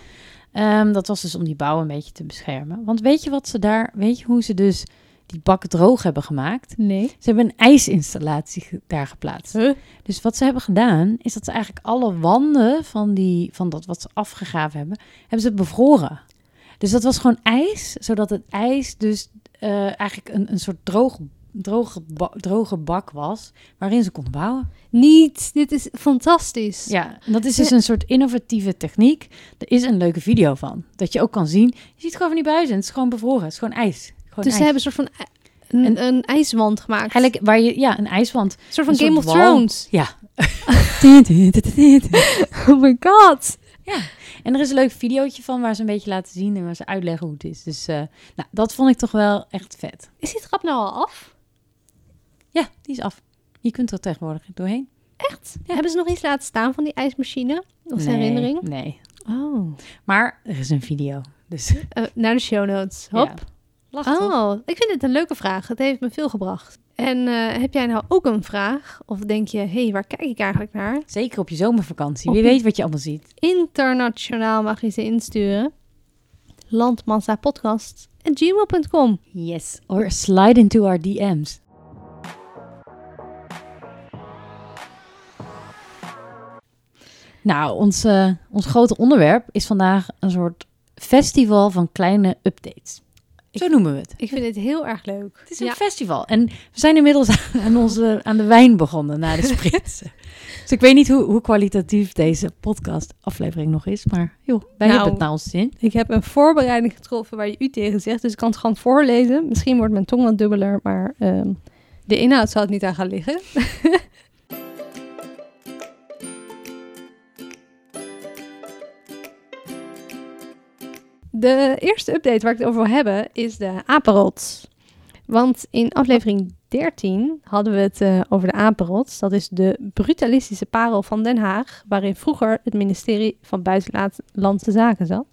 S2: Ehm, dat was dus om die bouw een beetje te beschermen. Want weet je wat ze daar, weet je hoe ze dus die bakken droog hebben gemaakt?
S3: Nee.
S2: Ze hebben een ijsinstallatie ge- daar geplaatst.
S3: Huh?
S2: Dus wat ze hebben gedaan, is dat ze eigenlijk alle wanden van, die, van dat wat ze afgegraven hebben, hebben ze bevroren. Dus dat was gewoon ijs, zodat het ijs dus eh, eigenlijk een, een soort droog, droge, ba- droge bak was, waarin ze konden bouwen.
S3: Niet, dit is fantastisch.
S2: Ja, en dat is dus een soort innovatieve techniek. Er is een leuke video van, dat je ook kan zien. Je ziet gewoon van die buizen, het is gewoon bevroren, het is gewoon ijs. Gewoon
S3: dus ze
S2: ijs.
S3: hebben een soort van i- een, een, ijswand gemaakt.
S2: Eigenlijk waar je, ja, een ijswand.
S3: een soort van
S2: een
S3: Game
S2: soort
S3: of
S2: wal.
S3: Thrones.
S2: Ja.
S3: Oh my god.
S2: En er is een leuk videootje van waar ze een beetje laten zien en waar ze uitleggen hoe het is. Dus eh, nou, dat vond ik toch wel echt vet.
S3: Is die trap nou al af?
S2: Ja, die is af. Je kunt er tegenwoordig doorheen.
S3: Echt? Hebben ze nog iets laten staan van die ijsmachine? Als
S2: Nee,
S3: herinnering?
S2: Nee.
S3: Oh.
S2: Maar er is een video. Dus
S3: Eh, naar de show notes.
S2: ja.
S3: Hop.
S2: Lach toch?
S3: oh, ik vind het een leuke vraag. Het heeft me veel gebracht. En eh, heb jij nou ook een vraag? Of denk je, hé, hey, waar kijk ik eigenlijk naar?
S2: Zeker op je zomervakantie.
S3: Op
S2: Wie
S3: je-
S2: weet wat je allemaal ziet.
S3: Internationaal mag je ze insturen. Landmassapodcast.gmail.com
S2: Yes. Or slide into our DM's. Nou, ons, eh, ons grote onderwerp is vandaag een soort festival van kleine updates. Zo noemen we het.
S3: Ik vind dit heel erg leuk.
S2: Het is een
S3: ja.
S2: festival. En we zijn inmiddels aan, onze, aan de wijn begonnen na de sprint. dus ik weet niet hoe, hoe kwalitatief deze podcast aflevering nog is. Maar joh, wij
S3: Nou.
S2: hebben het naar ons zin.
S3: Ik heb een voorbereiding getroffen waar je u tegen zegt. Dus ik kan het gewoon voorlezen. Misschien wordt mijn tong wat dubbeler, maar ehm, de inhoud zal het niet aan gaan liggen. de eerste update waar ik het over wil hebben is de apenrots. Want in aflevering 13 hadden we het eh, over de apenrots. Dat is de brutalistische parel van Den Haag, waarin vroeger het ministerie van Buitenlandse Zaken zat.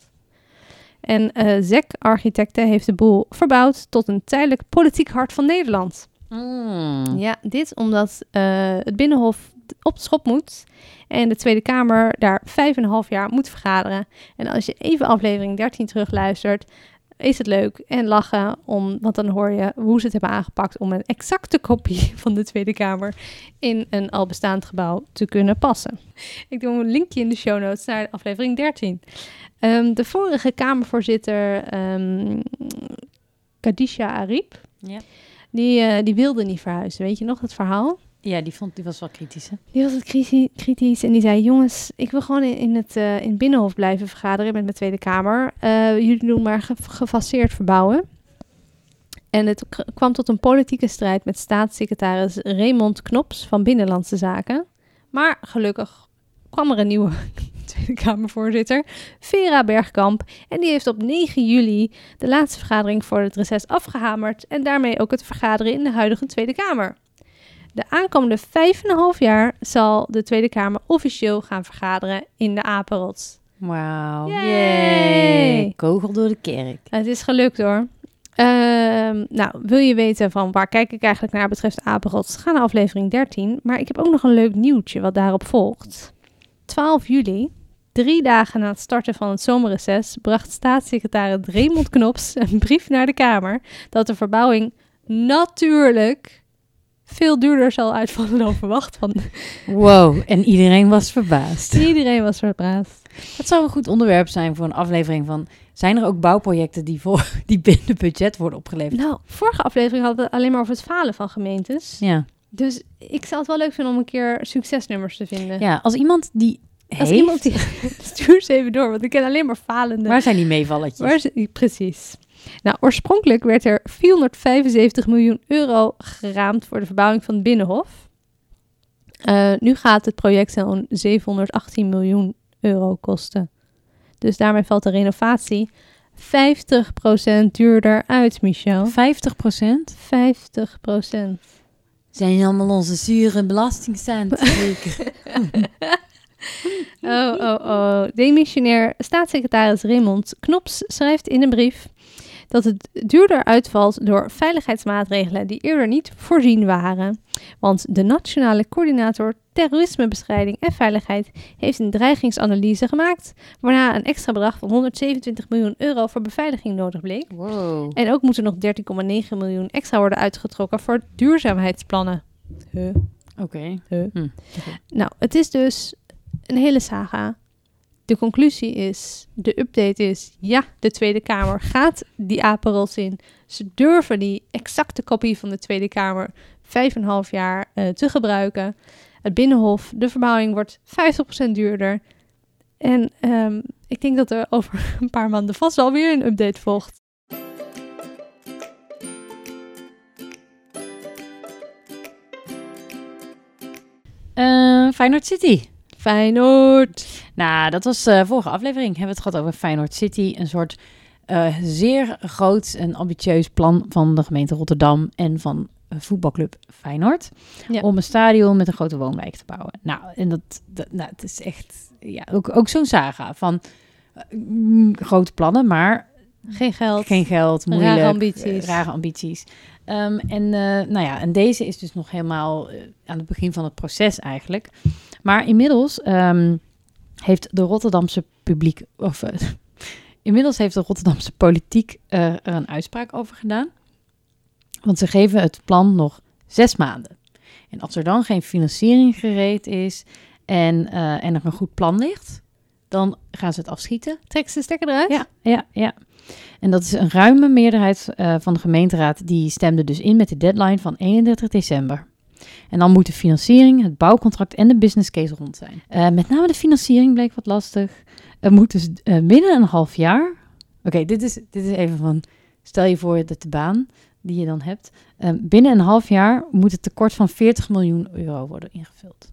S3: En eh ZEC Architecten heeft de boel verbouwd tot een tijdelijk politiek hart van Nederland.
S2: Mm.
S3: Ja, dit omdat eh, het Binnenhof op de schop moet en de Tweede Kamer daar vijf en een half jaar moet vergaderen. En als je even aflevering 13 terugluistert, is het leuk en lachen, om, want dan hoor je hoe ze het hebben aangepakt om een exacte kopie van de Tweede Kamer in een al bestaand gebouw te kunnen passen. Ik doe een linkje in de show notes naar aflevering 13. Ehm, de vorige Kamervoorzitter, ehm Kadisha Ariep,
S2: Ja.
S3: die, eh, die wilde niet verhuizen. Weet je nog dat verhaal?
S2: Ja, die, vond, die was wel kritisch. Hè?
S3: Die was het kriti- kritisch en die zei: Jongens, ik wil gewoon in, in het, eh, in het Binnenhof blijven vergaderen met mijn Tweede Kamer. Eh, jullie doen maar ge- gefaseerd verbouwen. En het k- kwam tot een politieke strijd met staatssecretaris Raymond Knops van Binnenlandse Zaken. Maar gelukkig kwam er een nieuwe Tweede Kamervoorzitter, Vera Bergkamp. En die heeft op 9 juli de laatste vergadering voor het reces afgehamerd. En daarmee ook het vergaderen in de huidige Tweede Kamer. De aankomende 5,5 jaar zal de Tweede Kamer officieel gaan vergaderen in de Apenrots.
S2: Wauw.
S3: Yay!
S2: Yay. Kogel door de kerk.
S3: Het is gelukt hoor. Eh, Ehm, nou, wil je weten van waar kijk ik eigenlijk naar betreft apenrots? Ga naar aflevering 13. Maar ik heb ook nog een leuk nieuwtje wat daarop volgt. 12 juli, drie dagen na het starten van het zomerreces, bracht staatssecretaris Raymond Knops een brief naar de Kamer dat de verbouwing natuurlijk veel duurder zal uitvallen dan verwacht. Van
S2: Wow, en iedereen was verbaasd.
S3: iedereen was verbaasd.
S2: Dat zou een goed onderwerp zijn voor een aflevering van... Zijn er ook bouwprojecten die, voor, die binnen budget worden opgeleverd?
S3: Nou, vorige aflevering hadden we het alleen maar over het falen van gemeentes.
S2: Ja.
S3: Dus ik zou het wel leuk vinden om een keer succesnummers te vinden.
S2: ja, als iemand die
S3: Als
S2: heeft-
S3: iemand die... Stuur ze even door, want ik ken alleen maar falende.
S2: Waar zijn die meevalletjes?
S3: Waar is- Precies. Nou, oorspronkelijk werd er 475 miljoen euro geraamd voor de verbouwing van het Binnenhof. Eh, nu gaat het project zo'n 718 miljoen euro kosten. Dus daarmee valt de renovatie 50% duurder uit, Michel.
S2: 50%?
S3: 50%.
S2: Zijn allemaal onze zure belastingcenten.
S3: Oh, oh, oh. Demissionair staatssecretaris Raymond Knops schrijft in een brief dat het duurder uitvalt door veiligheidsmaatregelen die eerder niet voorzien waren. Want de Nationale Coördinator Terrorismebestrijding en Veiligheid heeft een dreigingsanalyse gemaakt, waarna een extra bedrag van 127 miljoen euro voor beveiliging nodig bleek.
S2: wow.
S3: En ook moeten nog 13,9 miljoen extra worden uitgetrokken voor duurzaamheidsplannen. Huh.
S2: Oké.
S3: Nou, het is dus een hele saga. De conclusie is, de update is, ja, de Tweede Kamer gaat die apenrots in. Ze durven die exacte kopie van de Tweede Kamer vijf en een half jaar eh, te gebruiken. Het Binnenhof, de verbouwing wordt 50% duurder. En ehm, ik denk dat er over een paar maanden vast wel weer een update volgt.
S2: Eh, Feyenoord City.
S3: Feyenoord.
S2: Nou, dat was de vorige aflevering. Hebben we het gehad over Feyenoord City. Een soort eh, zeer groot en ambitieus plan van de gemeente Rotterdam en van eh, voetbalclub Feyenoord.
S3: Ja.
S2: Om een stadion met een grote woonwijk te bouwen. Nou, en dat, dat nou, het is echt ja, ook, ook zo'n saga van eh, mm, grote plannen, maar
S3: Geen geld.
S2: geen geld, moeilijk.
S3: Rare ambities.
S2: eh, Rare ambities. Ehm, en, eh, nou ja, en deze is dus nog helemaal eh, aan het begin van het proces eigenlijk. Maar inmiddels ehm, heeft de Rotterdamse publiek... Of, eh, inmiddels heeft de Rotterdamse politiek eh, er een uitspraak over gedaan. Want ze geven het plan nog zes maanden. En als er dan geen financiering gereed is en, eh, en er een goed plan ligt... dan gaan ze het afschieten.
S3: Trek ze stekker eruit.
S2: Ja, ja, ja. En dat is een ruime meerderheid eh, van de gemeenteraad. Die stemde dus in met de deadline van 31 december. En dan moet de financiering, het bouwcontract en de business case rond zijn. Eh, met name de financiering bleek wat lastig. Er moet dus eh, binnen een half jaar. Oké, dit, is, dit is even van. Stel je voor dat de baan die je dan hebt. eh, binnen een half jaar moet het tekort van 40 miljoen euro worden ingevuld.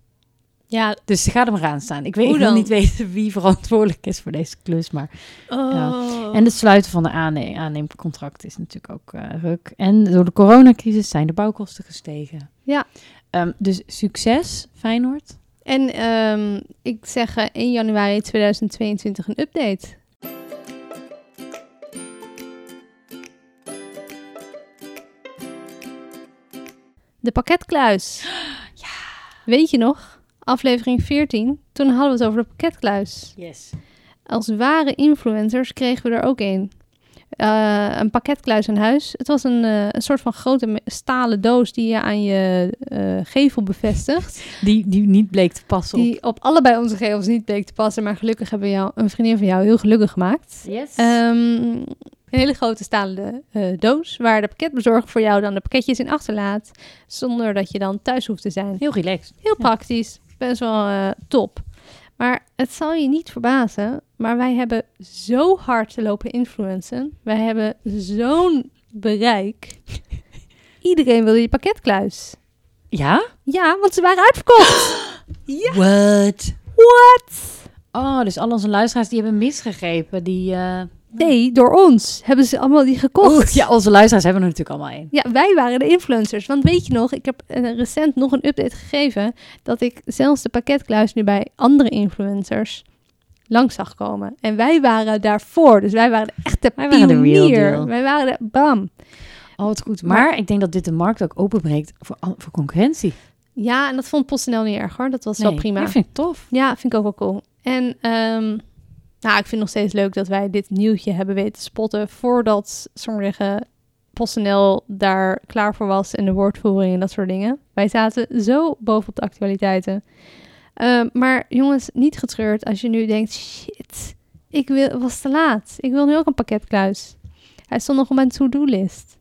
S3: Ja,
S2: Dus ze gaat hem eraan staan. Ik weet
S3: Hoe
S2: ik wil
S3: dan?
S2: niet weten wie verantwoordelijk is voor deze klus, maar
S3: Oh.
S2: en het sluiten van de aanne- aanneemcontract is natuurlijk ook eh, ruk. En door de coronacrisis zijn de bouwkosten gestegen.
S3: Ja.
S2: Ehm, dus succes, Feyenoord.
S3: En ehm, ik zeg eh, 1 januari 2022 een update. De pakketkluis. Weet je nog? Aflevering 14. Toen hadden we het over de pakketkluis.
S2: Yes.
S3: Als ware influencers kregen we er ook een. Eh, een pakketkluis aan huis. Het was een, eh, een soort van grote me- stalen doos die je aan je eh, gevel bevestigt.
S2: Die, die niet bleek te passen op.
S3: Die op allebei onze gevels niet bleek te passen. Maar gelukkig hebben we jou, een vriendin van jou heel gelukkig gemaakt.
S2: Yes.
S3: Ehm, een hele grote stalen eh, doos waar de pakketbezorger voor jou dan de pakketjes in achterlaat. Zonder dat je dan thuis hoeft te zijn.
S2: Heel relaxed.
S3: Heel
S2: Ja.
S3: praktisch. Best wel eh, top. Maar het zal je niet verbazen. Maar wij hebben zo hard te lopen influencen. Wij hebben zo'n bereik. Iedereen wilde je pakketkluis.
S2: Ja?
S3: Ja, want ze waren uitverkocht.
S2: Ja. What?
S3: What?
S2: Oh, dus al onze luisteraars die hebben misgegrepen. Die, eh,
S3: Nee, door ons hebben ze allemaal die gekocht.
S2: Oeh, ja, onze luisteraars hebben er natuurlijk allemaal één.
S3: Ja, wij waren de influencers. Want weet je nog, ik heb eh, recent nog een update gegeven dat ik zelfs de pakketkluis nu bij andere influencers langs zag komen. En wij waren daarvoor. Dus wij waren de echte
S2: Wij waren de real
S3: pionier.
S2: deal.
S3: Wij waren de bam.
S2: Oh, wat goed. Maar ik denk dat dit de markt ook openbreekt voor, al- voor concurrentie.
S3: Ja, en dat vond PostNL niet erg hoor. Dat was wel
S2: Nee,
S3: prima.
S2: Ik vind het tof.
S3: Ja, vind ik ook wel cool. En ehm, nou, ik vind nog steeds leuk dat wij dit nieuwtje hebben weten te spotten voordat sommige PostNL daar klaar voor was en de woordvoering en dat soort dingen. Wij zaten zo bovenop de actualiteiten. Ehm, maar jongens, niet getreurd als je nu denkt, shit, ik wil, was te laat. Ik wil nu ook een pakketkluis. Hij stond nog op mijn to-do-list.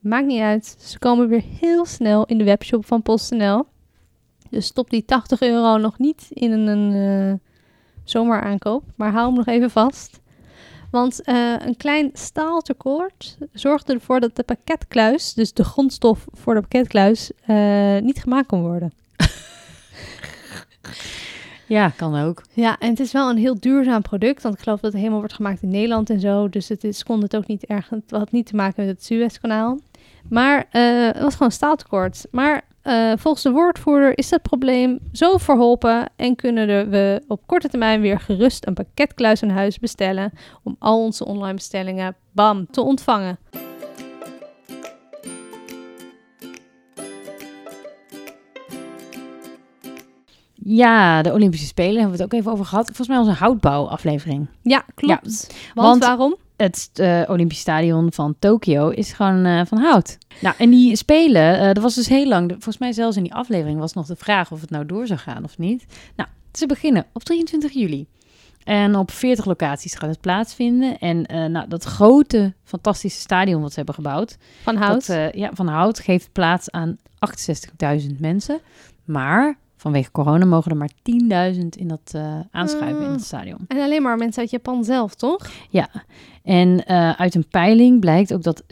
S3: Maakt niet uit, ze komen weer heel snel in de webshop van PostNL. Dus stop die 80 euro nog niet in een eh zomeraankoop. Maar hou hem nog even vast. Want eh, een klein staaltekort zorgde ervoor dat de pakketkluis, dus de grondstof voor de pakketkluis, eh, niet gemaakt kon worden.
S2: Ja, kan ook.
S3: Ja, en het is wel een heel duurzaam product, want ik geloof dat het helemaal wordt gemaakt in Nederland en zo. Dus het is, kon het ook niet erg, het had niet te maken met het Suezkanaal. Maar eh, het was gewoon staaltekort. Maar eh, volgens de woordvoerder is dat probleem zo verholpen en kunnen er we op korte termijn weer gerust een pakketkluis aan huis bestellen om al onze online bestellingen, bam, te ontvangen.
S2: Ja, de Olympische Spelen hebben we het ook even over gehad. Volgens mij onze houtbouwaflevering.
S3: Ja, klopt. want,
S2: want-
S3: waarom?
S2: Het eh, Olympisch Stadion van Tokio is gewoon eh, van hout. Nou, en die Spelen, eh dat was dus heel lang. Volgens mij zelfs in die aflevering was nog de vraag of het nou door zou gaan of niet. Nou, ze beginnen op 23 juli. En op 40 locaties gaat het plaatsvinden. En eh, nou, dat grote, fantastische stadion wat ze hebben gebouwd...
S3: Van hout.
S2: Dat, eh, ja, van hout geeft plaats aan 68.000 mensen. Maar vanwege corona mogen er maar 10.000 in dat eh, aanschuiven in
S3: Mm.
S2: het stadion.
S3: en alleen maar mensen uit Japan zelf, toch?
S2: Ja. En eh, uit een peiling blijkt ook dat 86%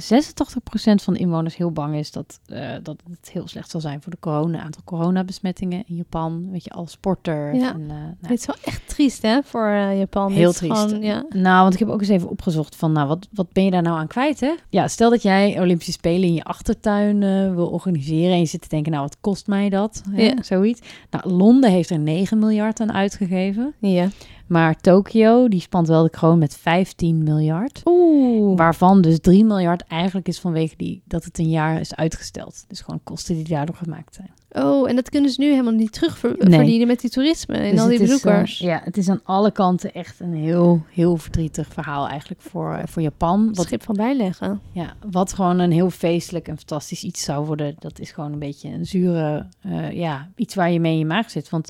S2: van de inwoners heel bang is dat, eh, dat het heel slecht zal zijn voor de corona. Aantal coronabesmettingen in Japan. Weet je, als sporter.
S3: Ja.
S2: En, eh, nou,
S3: Dit is wel echt triest, hè, voor eh, Japan.
S2: Heel
S3: Dit is
S2: triest.
S3: gewoon, ja.
S2: Nou, want ik heb ook eens even opgezocht van, nou, wat, wat ben je daar nou aan kwijt, hè? Ja, stel dat jij Olympische Spelen in je achtertuin eh, wil organiseren en je zit te denken, nou, wat kost mij dat? Hè?
S3: Ja.
S2: Zoiets. Nou, Londen heeft er 9 miljard aan uitgegeven,
S3: Ja.
S2: maar Tokio, die spant wel de kroon met 15 miljard.
S3: Oeh.
S2: Waarvan dus 3 miljard eigenlijk is vanwege die, dat het een jaar is uitgesteld. Dus gewoon kosten die daardoor gemaakt zijn.
S3: Oh, en dat kunnen ze nu helemaal niet terugverdienen
S2: Nee.
S3: verdienen met die toerisme en
S2: Dus
S3: al die
S2: het is, eh,
S3: bezoekers.
S2: ja, het is aan alle kanten echt een heel, heel verdrietig verhaal eigenlijk voor, eh, voor Japan. Wat
S3: Schip van bijleggen.
S2: Ja, wat gewoon een heel feestelijk en fantastisch iets zou worden, dat is gewoon een beetje een zure, eh, ja, iets waar je mee in je maag zit. Want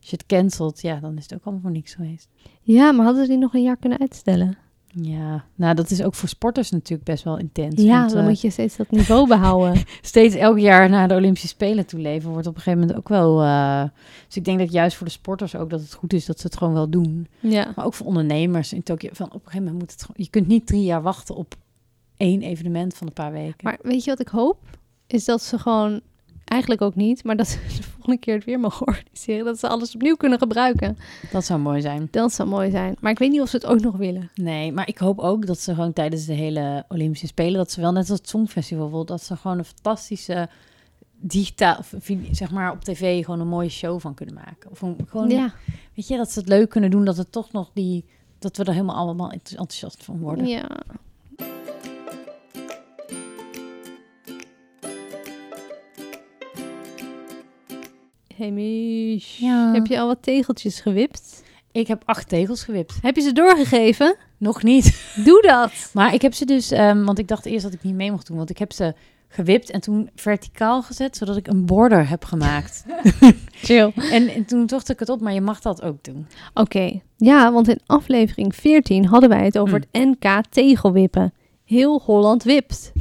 S2: als je het cancelt, ja, dan is het ook allemaal voor niks geweest.
S3: Ja, maar hadden ze die nog een jaar kunnen uitstellen?
S2: Ja, nou dat is ook voor sporters natuurlijk best wel intens.
S3: ja,
S2: want,
S3: dan
S2: eh,
S3: moet je steeds dat niveau behouden.
S2: steeds elk jaar naar de Olympische Spelen toe leven wordt op een gegeven moment ook wel... eh, dus ik denk dat juist voor de sporters ook dat het goed is dat ze het gewoon wel doen.
S3: ja.
S2: Maar ook voor ondernemers in Tokio, van op een gegeven moment moet het gewoon... Je kunt niet drie jaar wachten op één evenement van een paar weken.
S3: Maar weet je wat ik hoop? Is dat ze gewoon, eigenlijk ook niet, maar dat ze de volgende keer het weer mogen organiseren. Dat ze alles opnieuw kunnen gebruiken.
S2: Dat zou mooi zijn.
S3: Dat zou mooi zijn. Maar ik weet niet of ze het ook nog willen.
S2: Nee, maar ik hoop ook dat ze gewoon tijdens de hele Olympische Spelen, dat ze wel net als het Songfestival bijvoorbeeld, dat ze gewoon een fantastische digitaal, of vi- zeg maar op tv, gewoon een mooie show van kunnen maken. Of een- gewoon,
S3: ja.
S2: weet je, dat ze het leuk kunnen doen, dat het toch nog die, dat we er helemaal allemaal enth- enthousiast van worden.
S3: ja. Hey Mich,
S2: Ja.
S3: heb je al wat tegeltjes gewipt?
S2: Ik heb acht tegels gewipt.
S3: Heb je ze doorgegeven?
S2: Nog niet.
S3: Doe dat!
S2: Maar ik heb ze dus, ehm, want ik dacht eerst dat ik niet mee mocht doen, want ik heb ze gewipt en toen verticaal gezet, zodat ik een border heb gemaakt.
S3: Chill.
S2: en, en toen zocht ik het op, maar je mag dat ook doen.
S3: Oké, ja, want in aflevering 14 hadden wij het over het NK tegelwippen. Heel Holland wipt.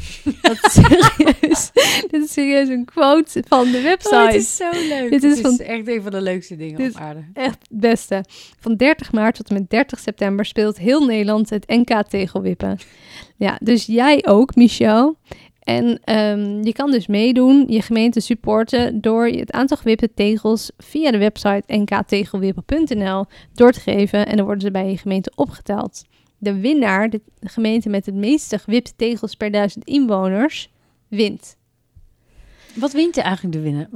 S3: Dat is serieus. Dit is serieus een quote van de website.
S2: Oh, dit is zo leuk.
S3: Dit
S2: Dit
S3: is
S2: is,
S3: van-
S2: echt een van de leukste dingen
S3: Dit-
S2: op aarde.
S3: echt het beste. Van 30 maart tot en met 30 september speelt heel Nederland het NK tegelwippen. Ja, dus jij ook, Michel. En ehm, je kan dus meedoen, je gemeente supporten door je het aantal gewipte tegels via de website nktegelwippen.nl door te geven en dan worden ze bij je gemeente opgeteld. De winnaar, de gemeente met het meeste gewipte tegels per duizend inwoners, wint.
S2: Wat wint je eigenlijk de winnaar?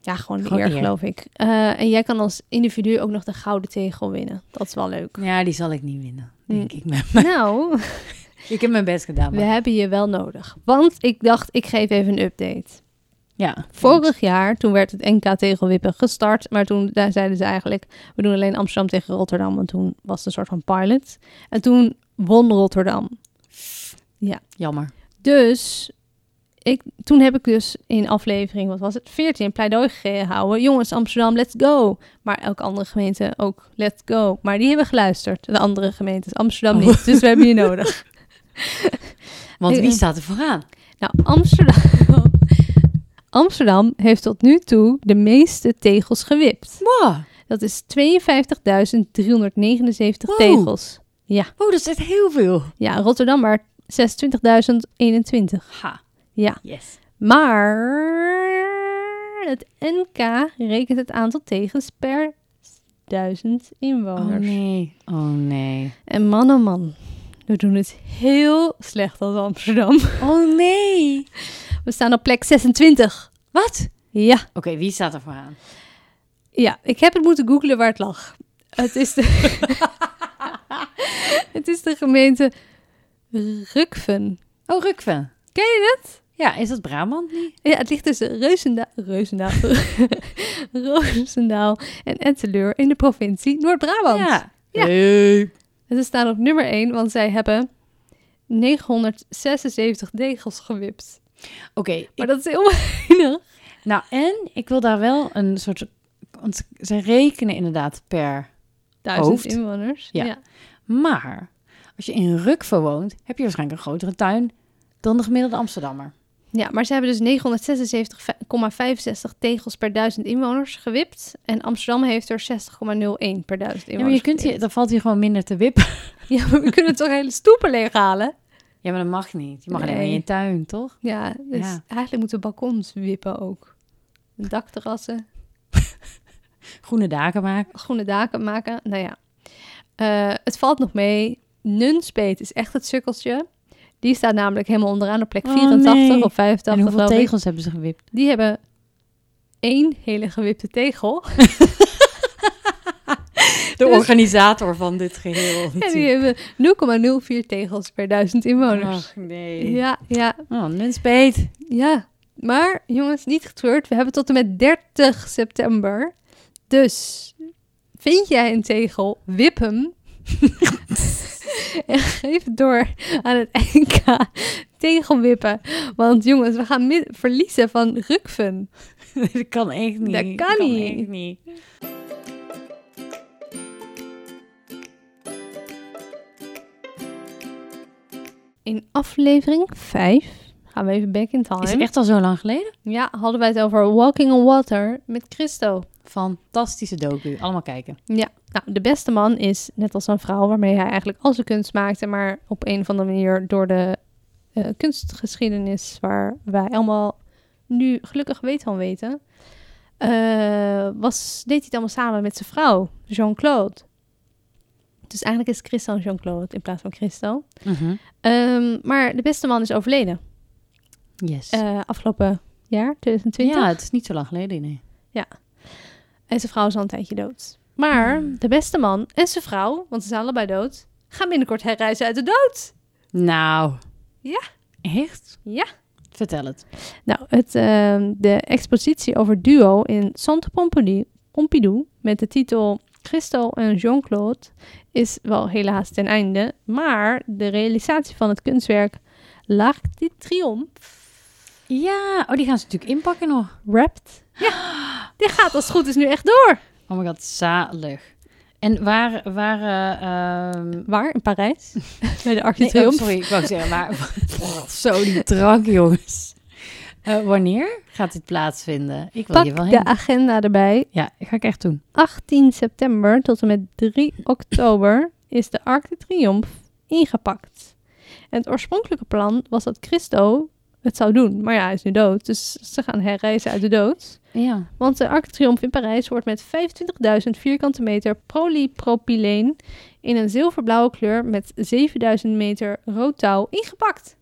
S3: Ja, gewoon,
S2: Gewoon
S3: eer,
S2: eer.
S3: geloof ik. Eh, en jij kan als individu ook nog de gouden tegel winnen. Dat is wel leuk.
S2: Ja, die zal ik niet winnen, denk
S3: Hm.
S2: ik. Maar
S3: nou,
S2: Ik heb mijn best gedaan.
S3: We
S2: Maar...
S3: hebben je wel nodig. Want ik dacht, ik geef even een update.
S2: Ja.
S3: Vorig jaar, toen werd het NK tegelwippen gestart. Maar toen daar zeiden ze eigenlijk, we doen alleen Amsterdam tegen Rotterdam. Want toen was het een soort van pilot. En toen won Rotterdam.
S2: Jammer.
S3: Dus ik, toen heb ik dus in aflevering, wat was het, 14, pleidooi gehouden. Jongens, Amsterdam, let's go. Maar elke andere gemeente ook, let's go. Maar die hebben geluisterd, de andere gemeentes. Amsterdam niet, dus we hebben je nodig.
S2: Want
S3: Ik-
S2: wie staat er vooraan?
S3: Nou, Amsterdam... Amsterdam heeft tot nu toe de meeste tegels gewipt.
S2: Wow.
S3: Dat is 52.379
S2: Wow.
S3: tegels.
S2: wow, Oh, dat is echt heel veel.
S3: Ja, Rotterdam maar 26.021.
S2: Ha.
S3: Ja.
S2: Yes.
S3: Maar het NK rekent het aantal tegens per duizend
S2: Oh
S3: inwoners.
S2: nee. Oh nee.
S3: En man, oh man, we doen het heel slecht als Amsterdam.
S2: Oh nee.
S3: We staan op plek 26.
S2: Wat?
S3: Ja,
S2: Oké, wie staat er vooraan?
S3: ja, ik heb het moeten googlen waar het lag. Het is de, het is de gemeente Rukven.
S2: Oh, Rukven.
S3: Ken je het?
S2: Ja, is dat Brabant niet?
S3: Ja, het ligt tussen Reusendaal, Reusendaal, Roosendaal en Etteleur in de provincie Noord-Brabant.
S2: Ja.
S3: Ja.
S2: Hey.
S3: En Ze staan op nummer 1, want zij hebben 976 degels gewipt.
S2: Oké,
S3: Maar dat is heel weinig.
S2: nou en ik wil daar wel een soort... Want ze rekenen inderdaad per...
S3: Duizend
S2: Hoofd.
S3: inwoners.
S2: Ja. Maar als je in Rukven woont, heb je waarschijnlijk een grotere tuin dan de gemiddelde Amsterdammer.
S3: Ja, maar ze hebben dus 976,65 tegels per duizend inwoners gewipt. En Amsterdam heeft er 60,01 per duizend
S2: Ja, maar je
S3: inwoners.
S2: kunt hier, dan valt hier gewoon minder te wippen.
S3: gewipt. Ja, maar we kunnen toch hele stoepen leeghalen?
S2: Ja, maar dat mag niet. Je mag
S3: Nee.
S2: alleen maar in je tuin, toch?
S3: Ja, dus
S2: Ja.
S3: eigenlijk moeten balkons wippen ook. Dakterrassen.
S2: Groene daken maken.
S3: groene daken maken. Nou ja, Eh, het valt nog mee. Nunspeet is echt het sukkeltje. Die staat namelijk helemaal onderaan op plek
S2: Oh,
S3: 84
S2: nee.
S3: of 85.
S2: en hoeveel
S3: geloof ik.
S2: tegels hebben ze gewipt?
S3: Die hebben één hele gewipte tegel.
S2: De
S3: Dus-
S2: organisator van dit geheel.
S3: En die hebben 0,04 tegels per duizend inwoners.
S2: Ach, nee.
S3: Ja, ja,
S2: Oh, nunspeet.
S3: ja. Maar jongens, niet getreurd. We hebben tot en met 30 september. Dus vind jij een tegel, wip hem. en geef het door aan het NK tegelwippen. Want jongens, we gaan mi- verliezen van Rukven.
S2: dat kan echt niet.
S3: Dat kan niet.
S2: echt niet.
S3: In aflevering 5 gaan we even back in time.
S2: Is het echt al zo lang geleden?
S3: Ja, hadden wij het over Walking on Water met Christo.
S2: Fantastische docu. Allemaal kijken.
S3: Nou, de beste man is net als een vrouw waarmee hij eigenlijk al zijn kunst maakte, maar op een of andere manier door de eh, kunstgeschiedenis waar wij allemaal nu gelukkig weet van weten, eh, was, deed hij het allemaal samen met zijn vrouw, Jean-Claude. Dus eigenlijk is Christo een Jean-Claude in plaats van Christo.
S2: Mhm.
S3: Ehm, maar de beste man is overleden
S2: Yes.
S3: eh, afgelopen jaar, 2020.
S2: ja, het is niet zo lang geleden, nee.
S3: En zijn vrouw is al een tijdje dood. Maar de beste man en zijn vrouw, want ze zijn allebei dood, gaan binnenkort herreizen uit de dood.
S2: Nou.
S3: Ja.
S2: Echt?
S3: Ja.
S2: Vertel het.
S3: Nou, het, ehm, de expositie over duo in Centre Pompidou, Pompidou met de titel Christo en Jean-Claude is wel helaas ten einde. Maar de realisatie van het kunstwerk L'Arc de Triomphe
S2: Ja. Oh, die gaan ze natuurlijk inpakken nog.
S3: Wrapped. Ja, dit gaat als het goed is nu echt door.
S2: Oh my god, zalig. En waar... waar eh, ehm,
S3: Waar? In Parijs? Bij de Arc de
S2: nee, oh,
S3: Triomphe.
S2: sorry, ik wou zeggen, maar... zo, die drank, jongens. Eh, wanneer gaat dit plaatsvinden? Ik wil
S3: Pak
S2: hier wel
S3: de
S2: heen.
S3: agenda erbij.
S2: Ja, ga ik echt doen.
S3: 18 september tot en met 3 oktober is de Arc de Triomphe ingepakt. En het oorspronkelijke plan was dat Christo het zou doen. Maar ja, hij is nu dood, dus ze gaan herreizen uit de dood.
S2: Ja.
S3: Want de Arc de Triomphe in Parijs wordt met 25.000 vierkante meter polypropyleen in een zilverblauwe kleur met 7000 meter rood touw ingepakt.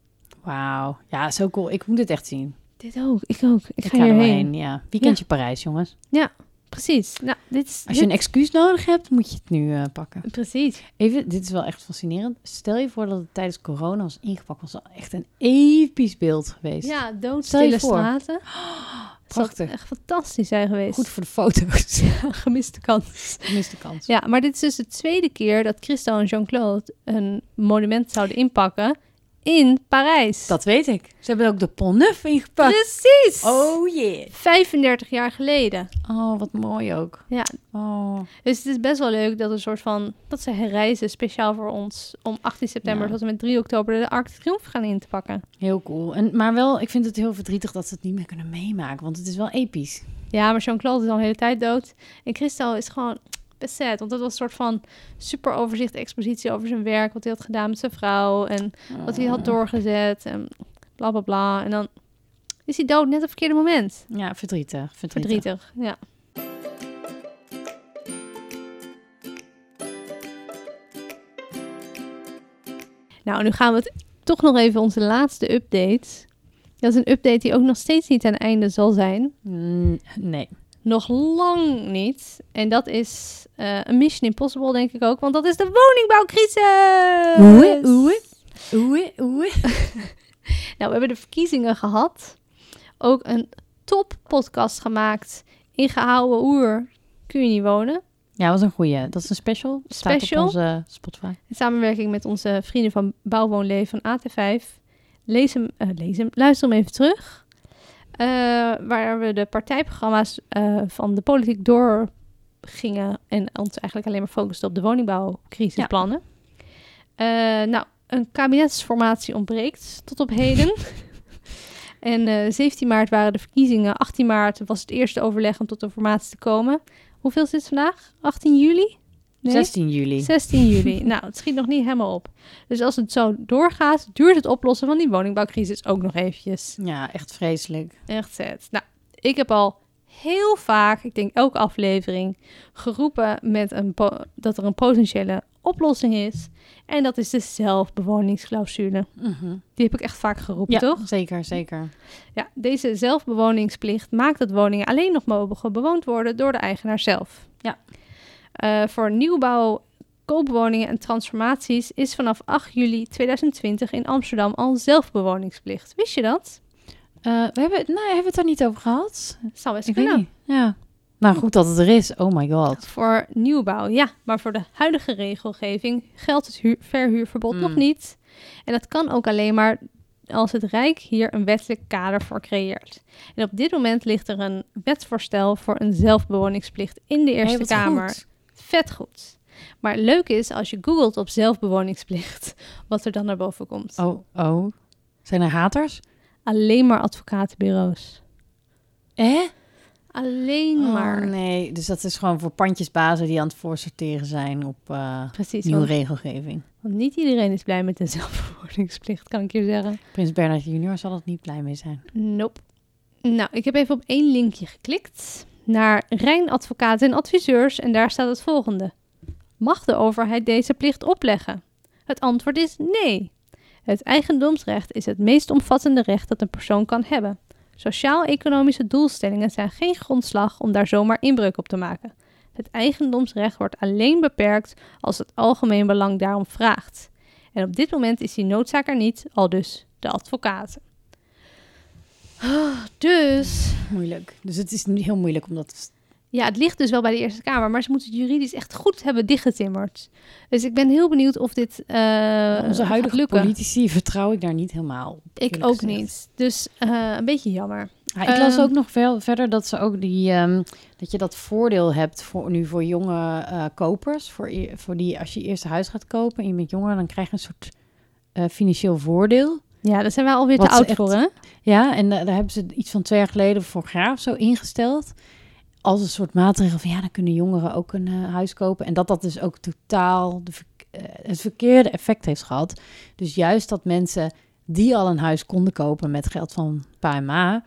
S2: Wauw. Ja, zo cool. Ik moet het echt zien.
S3: Dit ook, ik ook. Ik,
S2: Ik,
S3: ga
S2: ga er wel
S3: hierheen.
S2: heen. Ja. Weekendje Parijs, jongens.
S3: Ja, Precies. Nou, dit is...
S2: Als je een
S3: dit-
S2: excuus nodig hebt, moet je het nu eh, pakken.
S3: Precies.
S2: Even, dit is wel echt fascinerend. Stel je voor dat het tijdens corona was ingepakt. was wel echt een episch beeld geweest.
S3: Ja, dood
S2: Stel je
S3: stille
S2: voor.
S3: straten. Het
S2: Prachtig.
S3: zou echt fantastisch zijn geweest.
S2: Goed voor de foto's.
S3: gemiste kans.
S2: Gemiste kans.
S3: Ja, maar dit is dus de tweede keer dat Christo en Jean-Claude een monument zouden inpakken in Parijs.
S2: Dat weet ik. Ze hebben ook de Pont-Neuf ingepakt.
S3: Precies!
S2: Oh jee.
S3: 35 jaar geleden.
S2: Oh, wat mooi ook.
S3: Ja.
S2: Oh.
S3: Dus het is best wel leuk dat een soort van dat ze herreizen speciaal voor ons om 18 september
S2: Ja.
S3: tot en met 3 oktober de Arc de Triomphe gaan in te pakken.
S2: Heel cool. En, maar wel, ik vind het heel verdrietig dat ze het niet meer kunnen meemaken. Want het is wel episch.
S3: Ja, maar Jean-Claude is al een hele tijd dood. En Christel is gewoon best sad, want dat was een soort van super overzicht expositie over zijn werk, wat hij had gedaan met zijn vrouw en wat hij had doorgezet en bla bla bla. En dan is hij dood net op het verkeerde moment.
S2: Ja, verdrietig. Verdrietig.
S3: Verdrietig, ja. Nou, nu gaan we het toch nog even onze laatste update. Dat is een update die ook nog steeds niet aan het einde zal zijn.
S2: Mm, nee.
S3: Nog lang niet. En dat is eh, een Mission Impossible, denk ik ook. Want dat is de woningbouwcrisis!
S2: Oei, oei. Oei, oei.
S3: Nou, we hebben de verkiezingen gehad. Ook een top podcast gemaakt. In gehouden oer kun je niet wonen.
S2: Ja, was een goeie. Dat is een special. Staat
S3: Special.
S2: op onze Spotify.
S3: In samenwerking met onze vrienden van Bouwwoonleven van AT5. Lees hem, eh, lees hem, luister hem even terug. Eh, waar we de partijprogramma's eh, van de politiek door gingen en ons eigenlijk alleen maar focusten op de woningbouwcrisisplannen. Eh, nou, een kabinetsformatie ontbreekt tot op heden. en eh, 17 maart waren de verkiezingen, 18 maart was het eerste overleg om tot een formatie te komen. Hoeveel is dit vandaag? 18 juli?
S2: 16 juli.
S3: 16 juli. nou, het schiet nog niet helemaal op. Dus als het zo doorgaat, duurt het oplossen van die woningbouwcrisis ook nog eventjes.
S2: Ja, echt vreselijk.
S3: Echt zet. Nou, ik heb al heel vaak, ik denk elke aflevering, geroepen met een po- dat er een potentiële oplossing is. En dat is de zelfbewoningsclausule. Die heb ik echt vaak geroepen,
S2: Mhm. Ja,
S3: toch?
S2: zeker, zeker.
S3: Ja, deze zelfbewoningsplicht maakt dat woningen alleen nog mogen bewoond worden door de eigenaar zelf.
S2: Ja.
S3: Eh, voor nieuwbouw, koopwoningen en transformaties is vanaf 8 juli 2020 in Amsterdam al een zelfbewoningsplicht. Wist je dat?
S2: Eh, we hebben, het- nou, hebben we het daar niet over gehad?
S3: Zou best
S2: Ik weet
S3: kunnen.
S2: niet. Ja. Nou, goed dat het er is. Oh my god.
S3: Voor nieuwbouw, ja. Maar voor de huidige regelgeving geldt het huur- verhuurverbod
S2: Mm.
S3: nog niet. En dat kan ook alleen maar als het Rijk hier een wettelijk kader voor creëert. En op dit moment ligt er een wetsvoorstel voor een zelfbewoningsplicht in de Eerste
S2: Hey, wat
S3: Kamer.
S2: goed.
S3: Vet goed. Maar het leuke is als je googelt op zelfbewoningsplicht, wat er dan naar boven komt.
S2: Oh, oh. Zijn er haters?
S3: Alleen maar advocatenbureaus.
S2: Hè?
S3: Alleen maar.
S2: Oh, nee, dus dat is gewoon voor pandjesbazen die aan het voorsorteren zijn op eh,
S3: Precies.
S2: nieuwe
S3: Want,
S2: regelgeving.
S3: want niet iedereen is blij met de zelfbewoningsplicht, kan ik je zeggen.
S2: Prins Bernhard junior zal het niet blij mee zijn.
S3: Nope. Nou, ik heb even op één linkje geklikt naar Rijn Advocaten en Adviseurs en daar staat het volgende. Mag de overheid deze plicht opleggen? Het antwoord is nee. Het eigendomsrecht is het meest omvattende recht dat een persoon kan hebben. Sociaal-economische doelstellingen zijn geen grondslag om daar zomaar inbreuk op te maken. Het eigendomsrecht wordt alleen beperkt als het algemeen belang daarom vraagt. En op dit moment is die noodzaak er niet, al dus de advocaten. Dus,
S2: Moeilijk. Dus het is niet heel moeilijk om dat...
S3: ja, het ligt dus wel bij de Eerste Kamer, maar ze moeten het juridisch echt goed hebben dichtgetimmerd. Dus ik ben heel benieuwd of dit eh
S2: Onze
S3: gaat
S2: huidige
S3: lukken.
S2: politici vertrouw ik daar niet helemaal op.
S3: Ik
S2: eerlijk
S3: ook
S2: gezegd.
S3: niet. Dus eh, een beetje jammer.
S2: Ja, ik las
S3: Ehm,
S2: ook nog veel verder dat ze ook die ehm, dat je dat voordeel hebt voor nu voor jonge eh, kopers. Voor, e- voor die als je je eerste huis gaat kopen en je bent jonger, dan krijg je een soort eh, financieel voordeel.
S3: Ja, daar zijn wij alweer
S2: Wat
S3: te
S2: ze
S3: oud
S2: echt-
S3: voor, hè?
S2: Ja, en eh, daar hebben ze iets van twee jaar geleden voor graaf zo ingesteld. Als een soort maatregel van ja, dan kunnen jongeren ook een eh, huis kopen. En dat dat dus ook totaal de verk- eh, het verkeerde effect heeft gehad. Dus juist dat mensen die al een huis konden kopen met geld van pa en ma,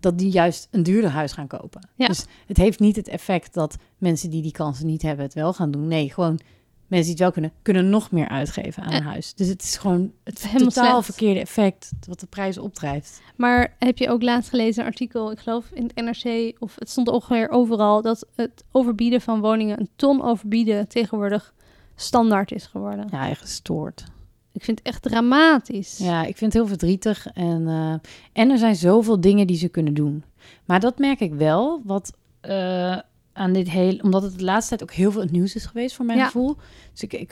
S2: dat die juist een duurder huis gaan kopen.
S3: Ja.
S2: Dus het heeft niet het effect dat mensen die die kansen niet hebben het wel gaan doen. Nee, gewoon mensen die het wel kunnen, kunnen nog meer uitgeven aan
S3: Eh.
S2: een huis. Dus het is gewoon het
S3: Helemaal
S2: totaal
S3: slecht.
S2: verkeerde effect wat de prijs opdrijft.
S3: Maar heb je ook laatst gelezen een artikel, ik geloof in het NRC, of het stond ongeveer overal, dat het overbieden van woningen, een ton overbieden, tegenwoordig standaard is geworden.
S2: Ja, echt gestoord.
S3: Ik vind het echt dramatisch.
S2: Ja, ik vind het heel verdrietig. En, eh, en er zijn zoveel dingen die ze kunnen doen. Maar dat merk ik wel, wat eh, aan dit hele... Omdat het de laatste tijd ook heel veel het nieuws is geweest, voor mijn
S3: Ja.
S2: gevoel. Dus ik, ik,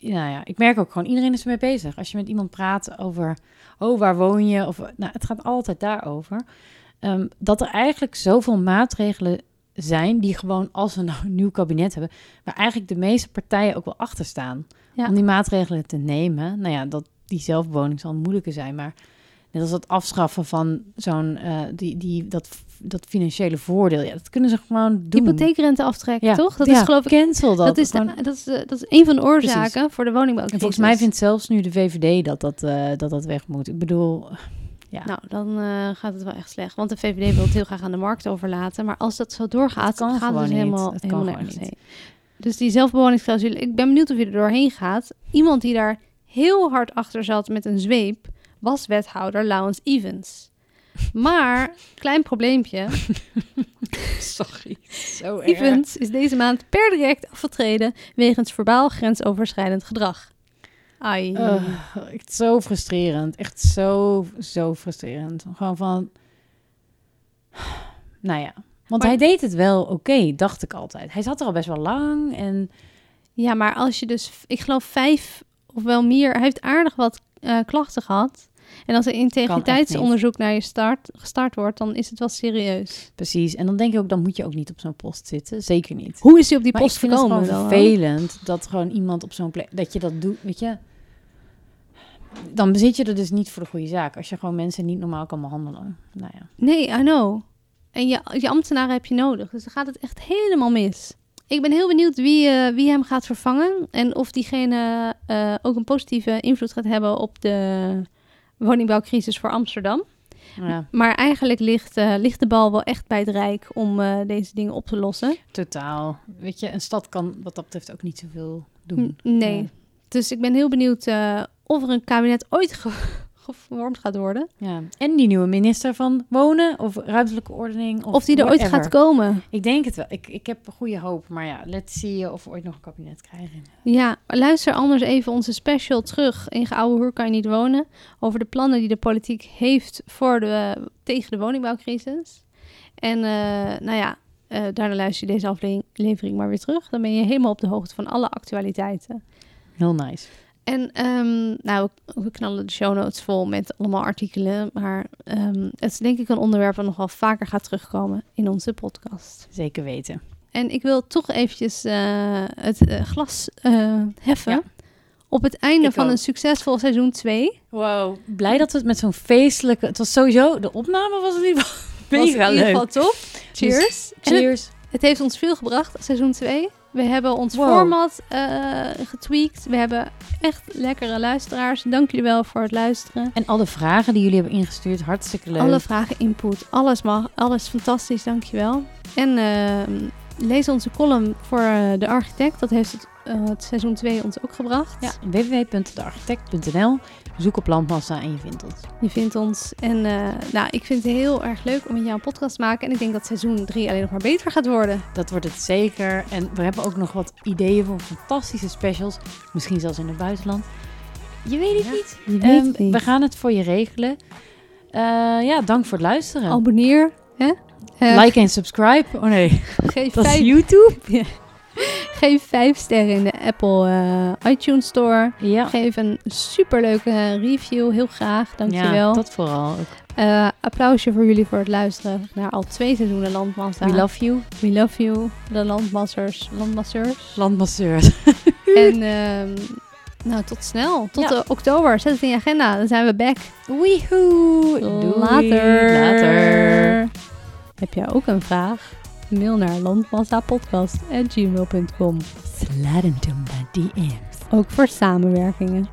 S2: nou ja, ik merk ook gewoon, iedereen is ermee bezig. Als je met iemand praat over, oh, waar woon je? Of, nou, het gaat altijd daarover. Ehm, dat er eigenlijk zoveel maatregelen zijn die gewoon, als we nou een nieuw kabinet hebben... waar eigenlijk de meeste partijen ook wel achter staan
S3: Ja.
S2: om die maatregelen te nemen. Nou ja, dat die zelfbewoning zal een moeilijke zijn, maar net als dat afschaffen van zo'n eh, die, die, dat, dat financiële voordeel, ja, dat kunnen ze gewoon doen.
S3: Hypotheekrente aftrekken,
S2: Ja.
S3: toch? Dat
S2: Ja,
S3: is geloof ik.
S2: cancel dat.
S3: Dat, is, de- dus-
S2: Gewoon-
S3: dat, is, eh, dat is een van de oorzaken voor de
S2: en
S3: woningbouwcrisis.
S2: volgens mij vindt zelfs nu de VVD dat dat, eh, dat dat weg moet. Ik bedoel,
S3: Nou, dan eh, gaat het wel echt slecht. Want de VVD wil het heel graag aan de markt overlaten. Maar als dat zo doorgaat,
S2: Het kan
S3: dan gaat het
S2: gewoon
S3: dus
S2: niet.
S3: helemaal,
S2: Het kan
S3: helemaal
S2: gewoon
S3: nergens
S2: niet.
S3: heen. Dus die zelfbewoningsclausule, ik ben benieuwd of je er doorheen gaat. Iemand die daar heel hard achter zat met een zweep, was wethouder Laurens Evans. Maar, klein probleempje,
S2: sorry, zo
S3: Evans is deze maand per direct afgetreden wegens verbaal grensoverschrijdend gedrag. Ai.
S2: echt zo frustrerend. Echt zo, zo frustrerend. Gewoon van... Nou ja. Want
S3: Maar-
S2: hij deed het wel oké, dacht ik altijd. Hij zat er al best wel lang en...
S3: Ja, maar als je dus, ik geloof vijf of wel meer, hij heeft aardig wat eh, klachten gehad. En als er integriteitsonderzoek naar je start, gestart wordt, dan is het wel serieus.
S2: Precies. En dan denk ik ook, dan moet je ook niet op zo'n post zitten. Zeker niet.
S3: Hoe is hij op die
S2: maar
S3: post
S2: ik vind het
S3: gekomen?
S2: gewoon
S3: dan?
S2: vervelend dat gewoon iemand op zo'n plek... Dat je dat doet, weet je... Dan zit je er dus niet voor de goede zaak. Als je gewoon mensen niet normaal kan behandelen. Nou ja.
S3: Nee, I know. En je, je ambtenaren heb je nodig. Dus dan gaat het echt helemaal mis. Ik ben heel benieuwd wie, eh, wie hem gaat vervangen. En of diegene eh, ook een positieve invloed gaat hebben op de woningbouwcrisis voor Amsterdam.
S2: ja
S3: Maar eigenlijk ligt, eh, ligt de bal wel echt bij het Rijk om eh, deze dingen op te lossen.
S2: totaal. Weet je, een stad kan wat dat betreft ook niet zoveel
S3: N-
S2: doen.
S3: Nee.
S2: Ja.
S3: Dus ik ben heel benieuwd eh, of er een kabinet ooit ge- gevormd gaat worden.
S2: Ja. En die nieuwe minister van Wonen of Ruimtelijke Ordening. Of,
S3: Of, die er ooit
S2: whatever.
S3: gaat komen.
S2: Ik denk het wel. Ik, ik heb goede hoop. Maar ja, let's see of we ooit nog een kabinet krijgen.
S3: Ja, maar luister anders even onze special terug in Geoude Hoer kan je niet wonen. Over de plannen die de politiek heeft voor de, tegen de woningbouwcrisis. En eh, nou ja, eh, daarna luister je deze aflevering levering maar weer terug. Dan ben je helemaal op de hoogte van alle actualiteiten.
S2: Heel nice.
S3: En ehm, nou, we- we knallen de show notes vol met allemaal artikelen. Maar ehm, het is denk ik een onderwerp wat nogal vaker gaat terugkomen in onze podcast.
S2: Zeker weten.
S3: En ik wil toch eventjes eh, het eh, glas eh, heffen.
S2: Ja.
S3: Op het einde
S2: Ik
S3: van
S2: ook.
S3: een succesvol seizoen 2.
S2: Wow, blij dat we het met zo'n feestelijke... Het was sowieso... De opname was in ieder geval
S3: was in
S2: mega
S3: ieder geval
S2: leuk.
S3: top. Cheers. En het,
S2: Cheers.
S3: het heeft ons veel gebracht, seizoen 2. We hebben ons
S2: Wow.
S3: format eh, getweakt. We hebben echt lekkere luisteraars. Dank jullie wel voor het luisteren.
S2: En alle vragen die jullie hebben ingestuurd, hartstikke leuk.
S3: Alle vragen, input, alles mag. Alles fantastisch, dankjewel. En ehm, lees onze column voor eh, De Architect. Dat heeft het, eh, het seizoen 2 ons ook gebracht.
S2: Ja, www.dearchitect.nl. Zoek op Landmassa en je vindt ons.
S3: Je vindt ons. En eh, nou, ik vind het heel erg leuk om met jou een podcast te maken. En ik denk dat seizoen 3 alleen nog maar beter gaat worden.
S2: Dat wordt het zeker. En we hebben ook nog wat ideeën voor fantastische specials. Misschien zelfs in het buitenland. Je weet het niet.
S3: Je
S2: Ehm, We gaan het voor je regelen. Eh, ja, dank voor het luisteren.
S3: Abonneer. Hè? Eh,
S2: like en subscribe. Oh nee,
S3: geef,
S2: dat is
S3: vijf,
S2: YouTube.
S3: geef vijf sterren in de Apple eh, iTunes Store.
S2: Ja,
S3: Geef een superleuke eh, review. Heel graag. Dankjewel.
S2: Ja, dat vooral. ook.
S3: Eh, applausje voor jullie voor het luisteren naar al twee seizoenen Landmassa.
S2: We love you.
S3: We love you, de landmassers. Landmasseurs.
S2: Landmasseurs.
S3: en ehm, nou, tot snel. Tot
S2: Ja.
S3: eh, oktober. Zet het in je agenda. Dan zijn we back.
S2: Weehoe.
S3: Later.
S2: Later.
S3: Heb jij ook een vraag? Mail naar landmassapodcast.gmail.com.
S2: Slide into my DM's.
S3: Ook voor samenwerkingen.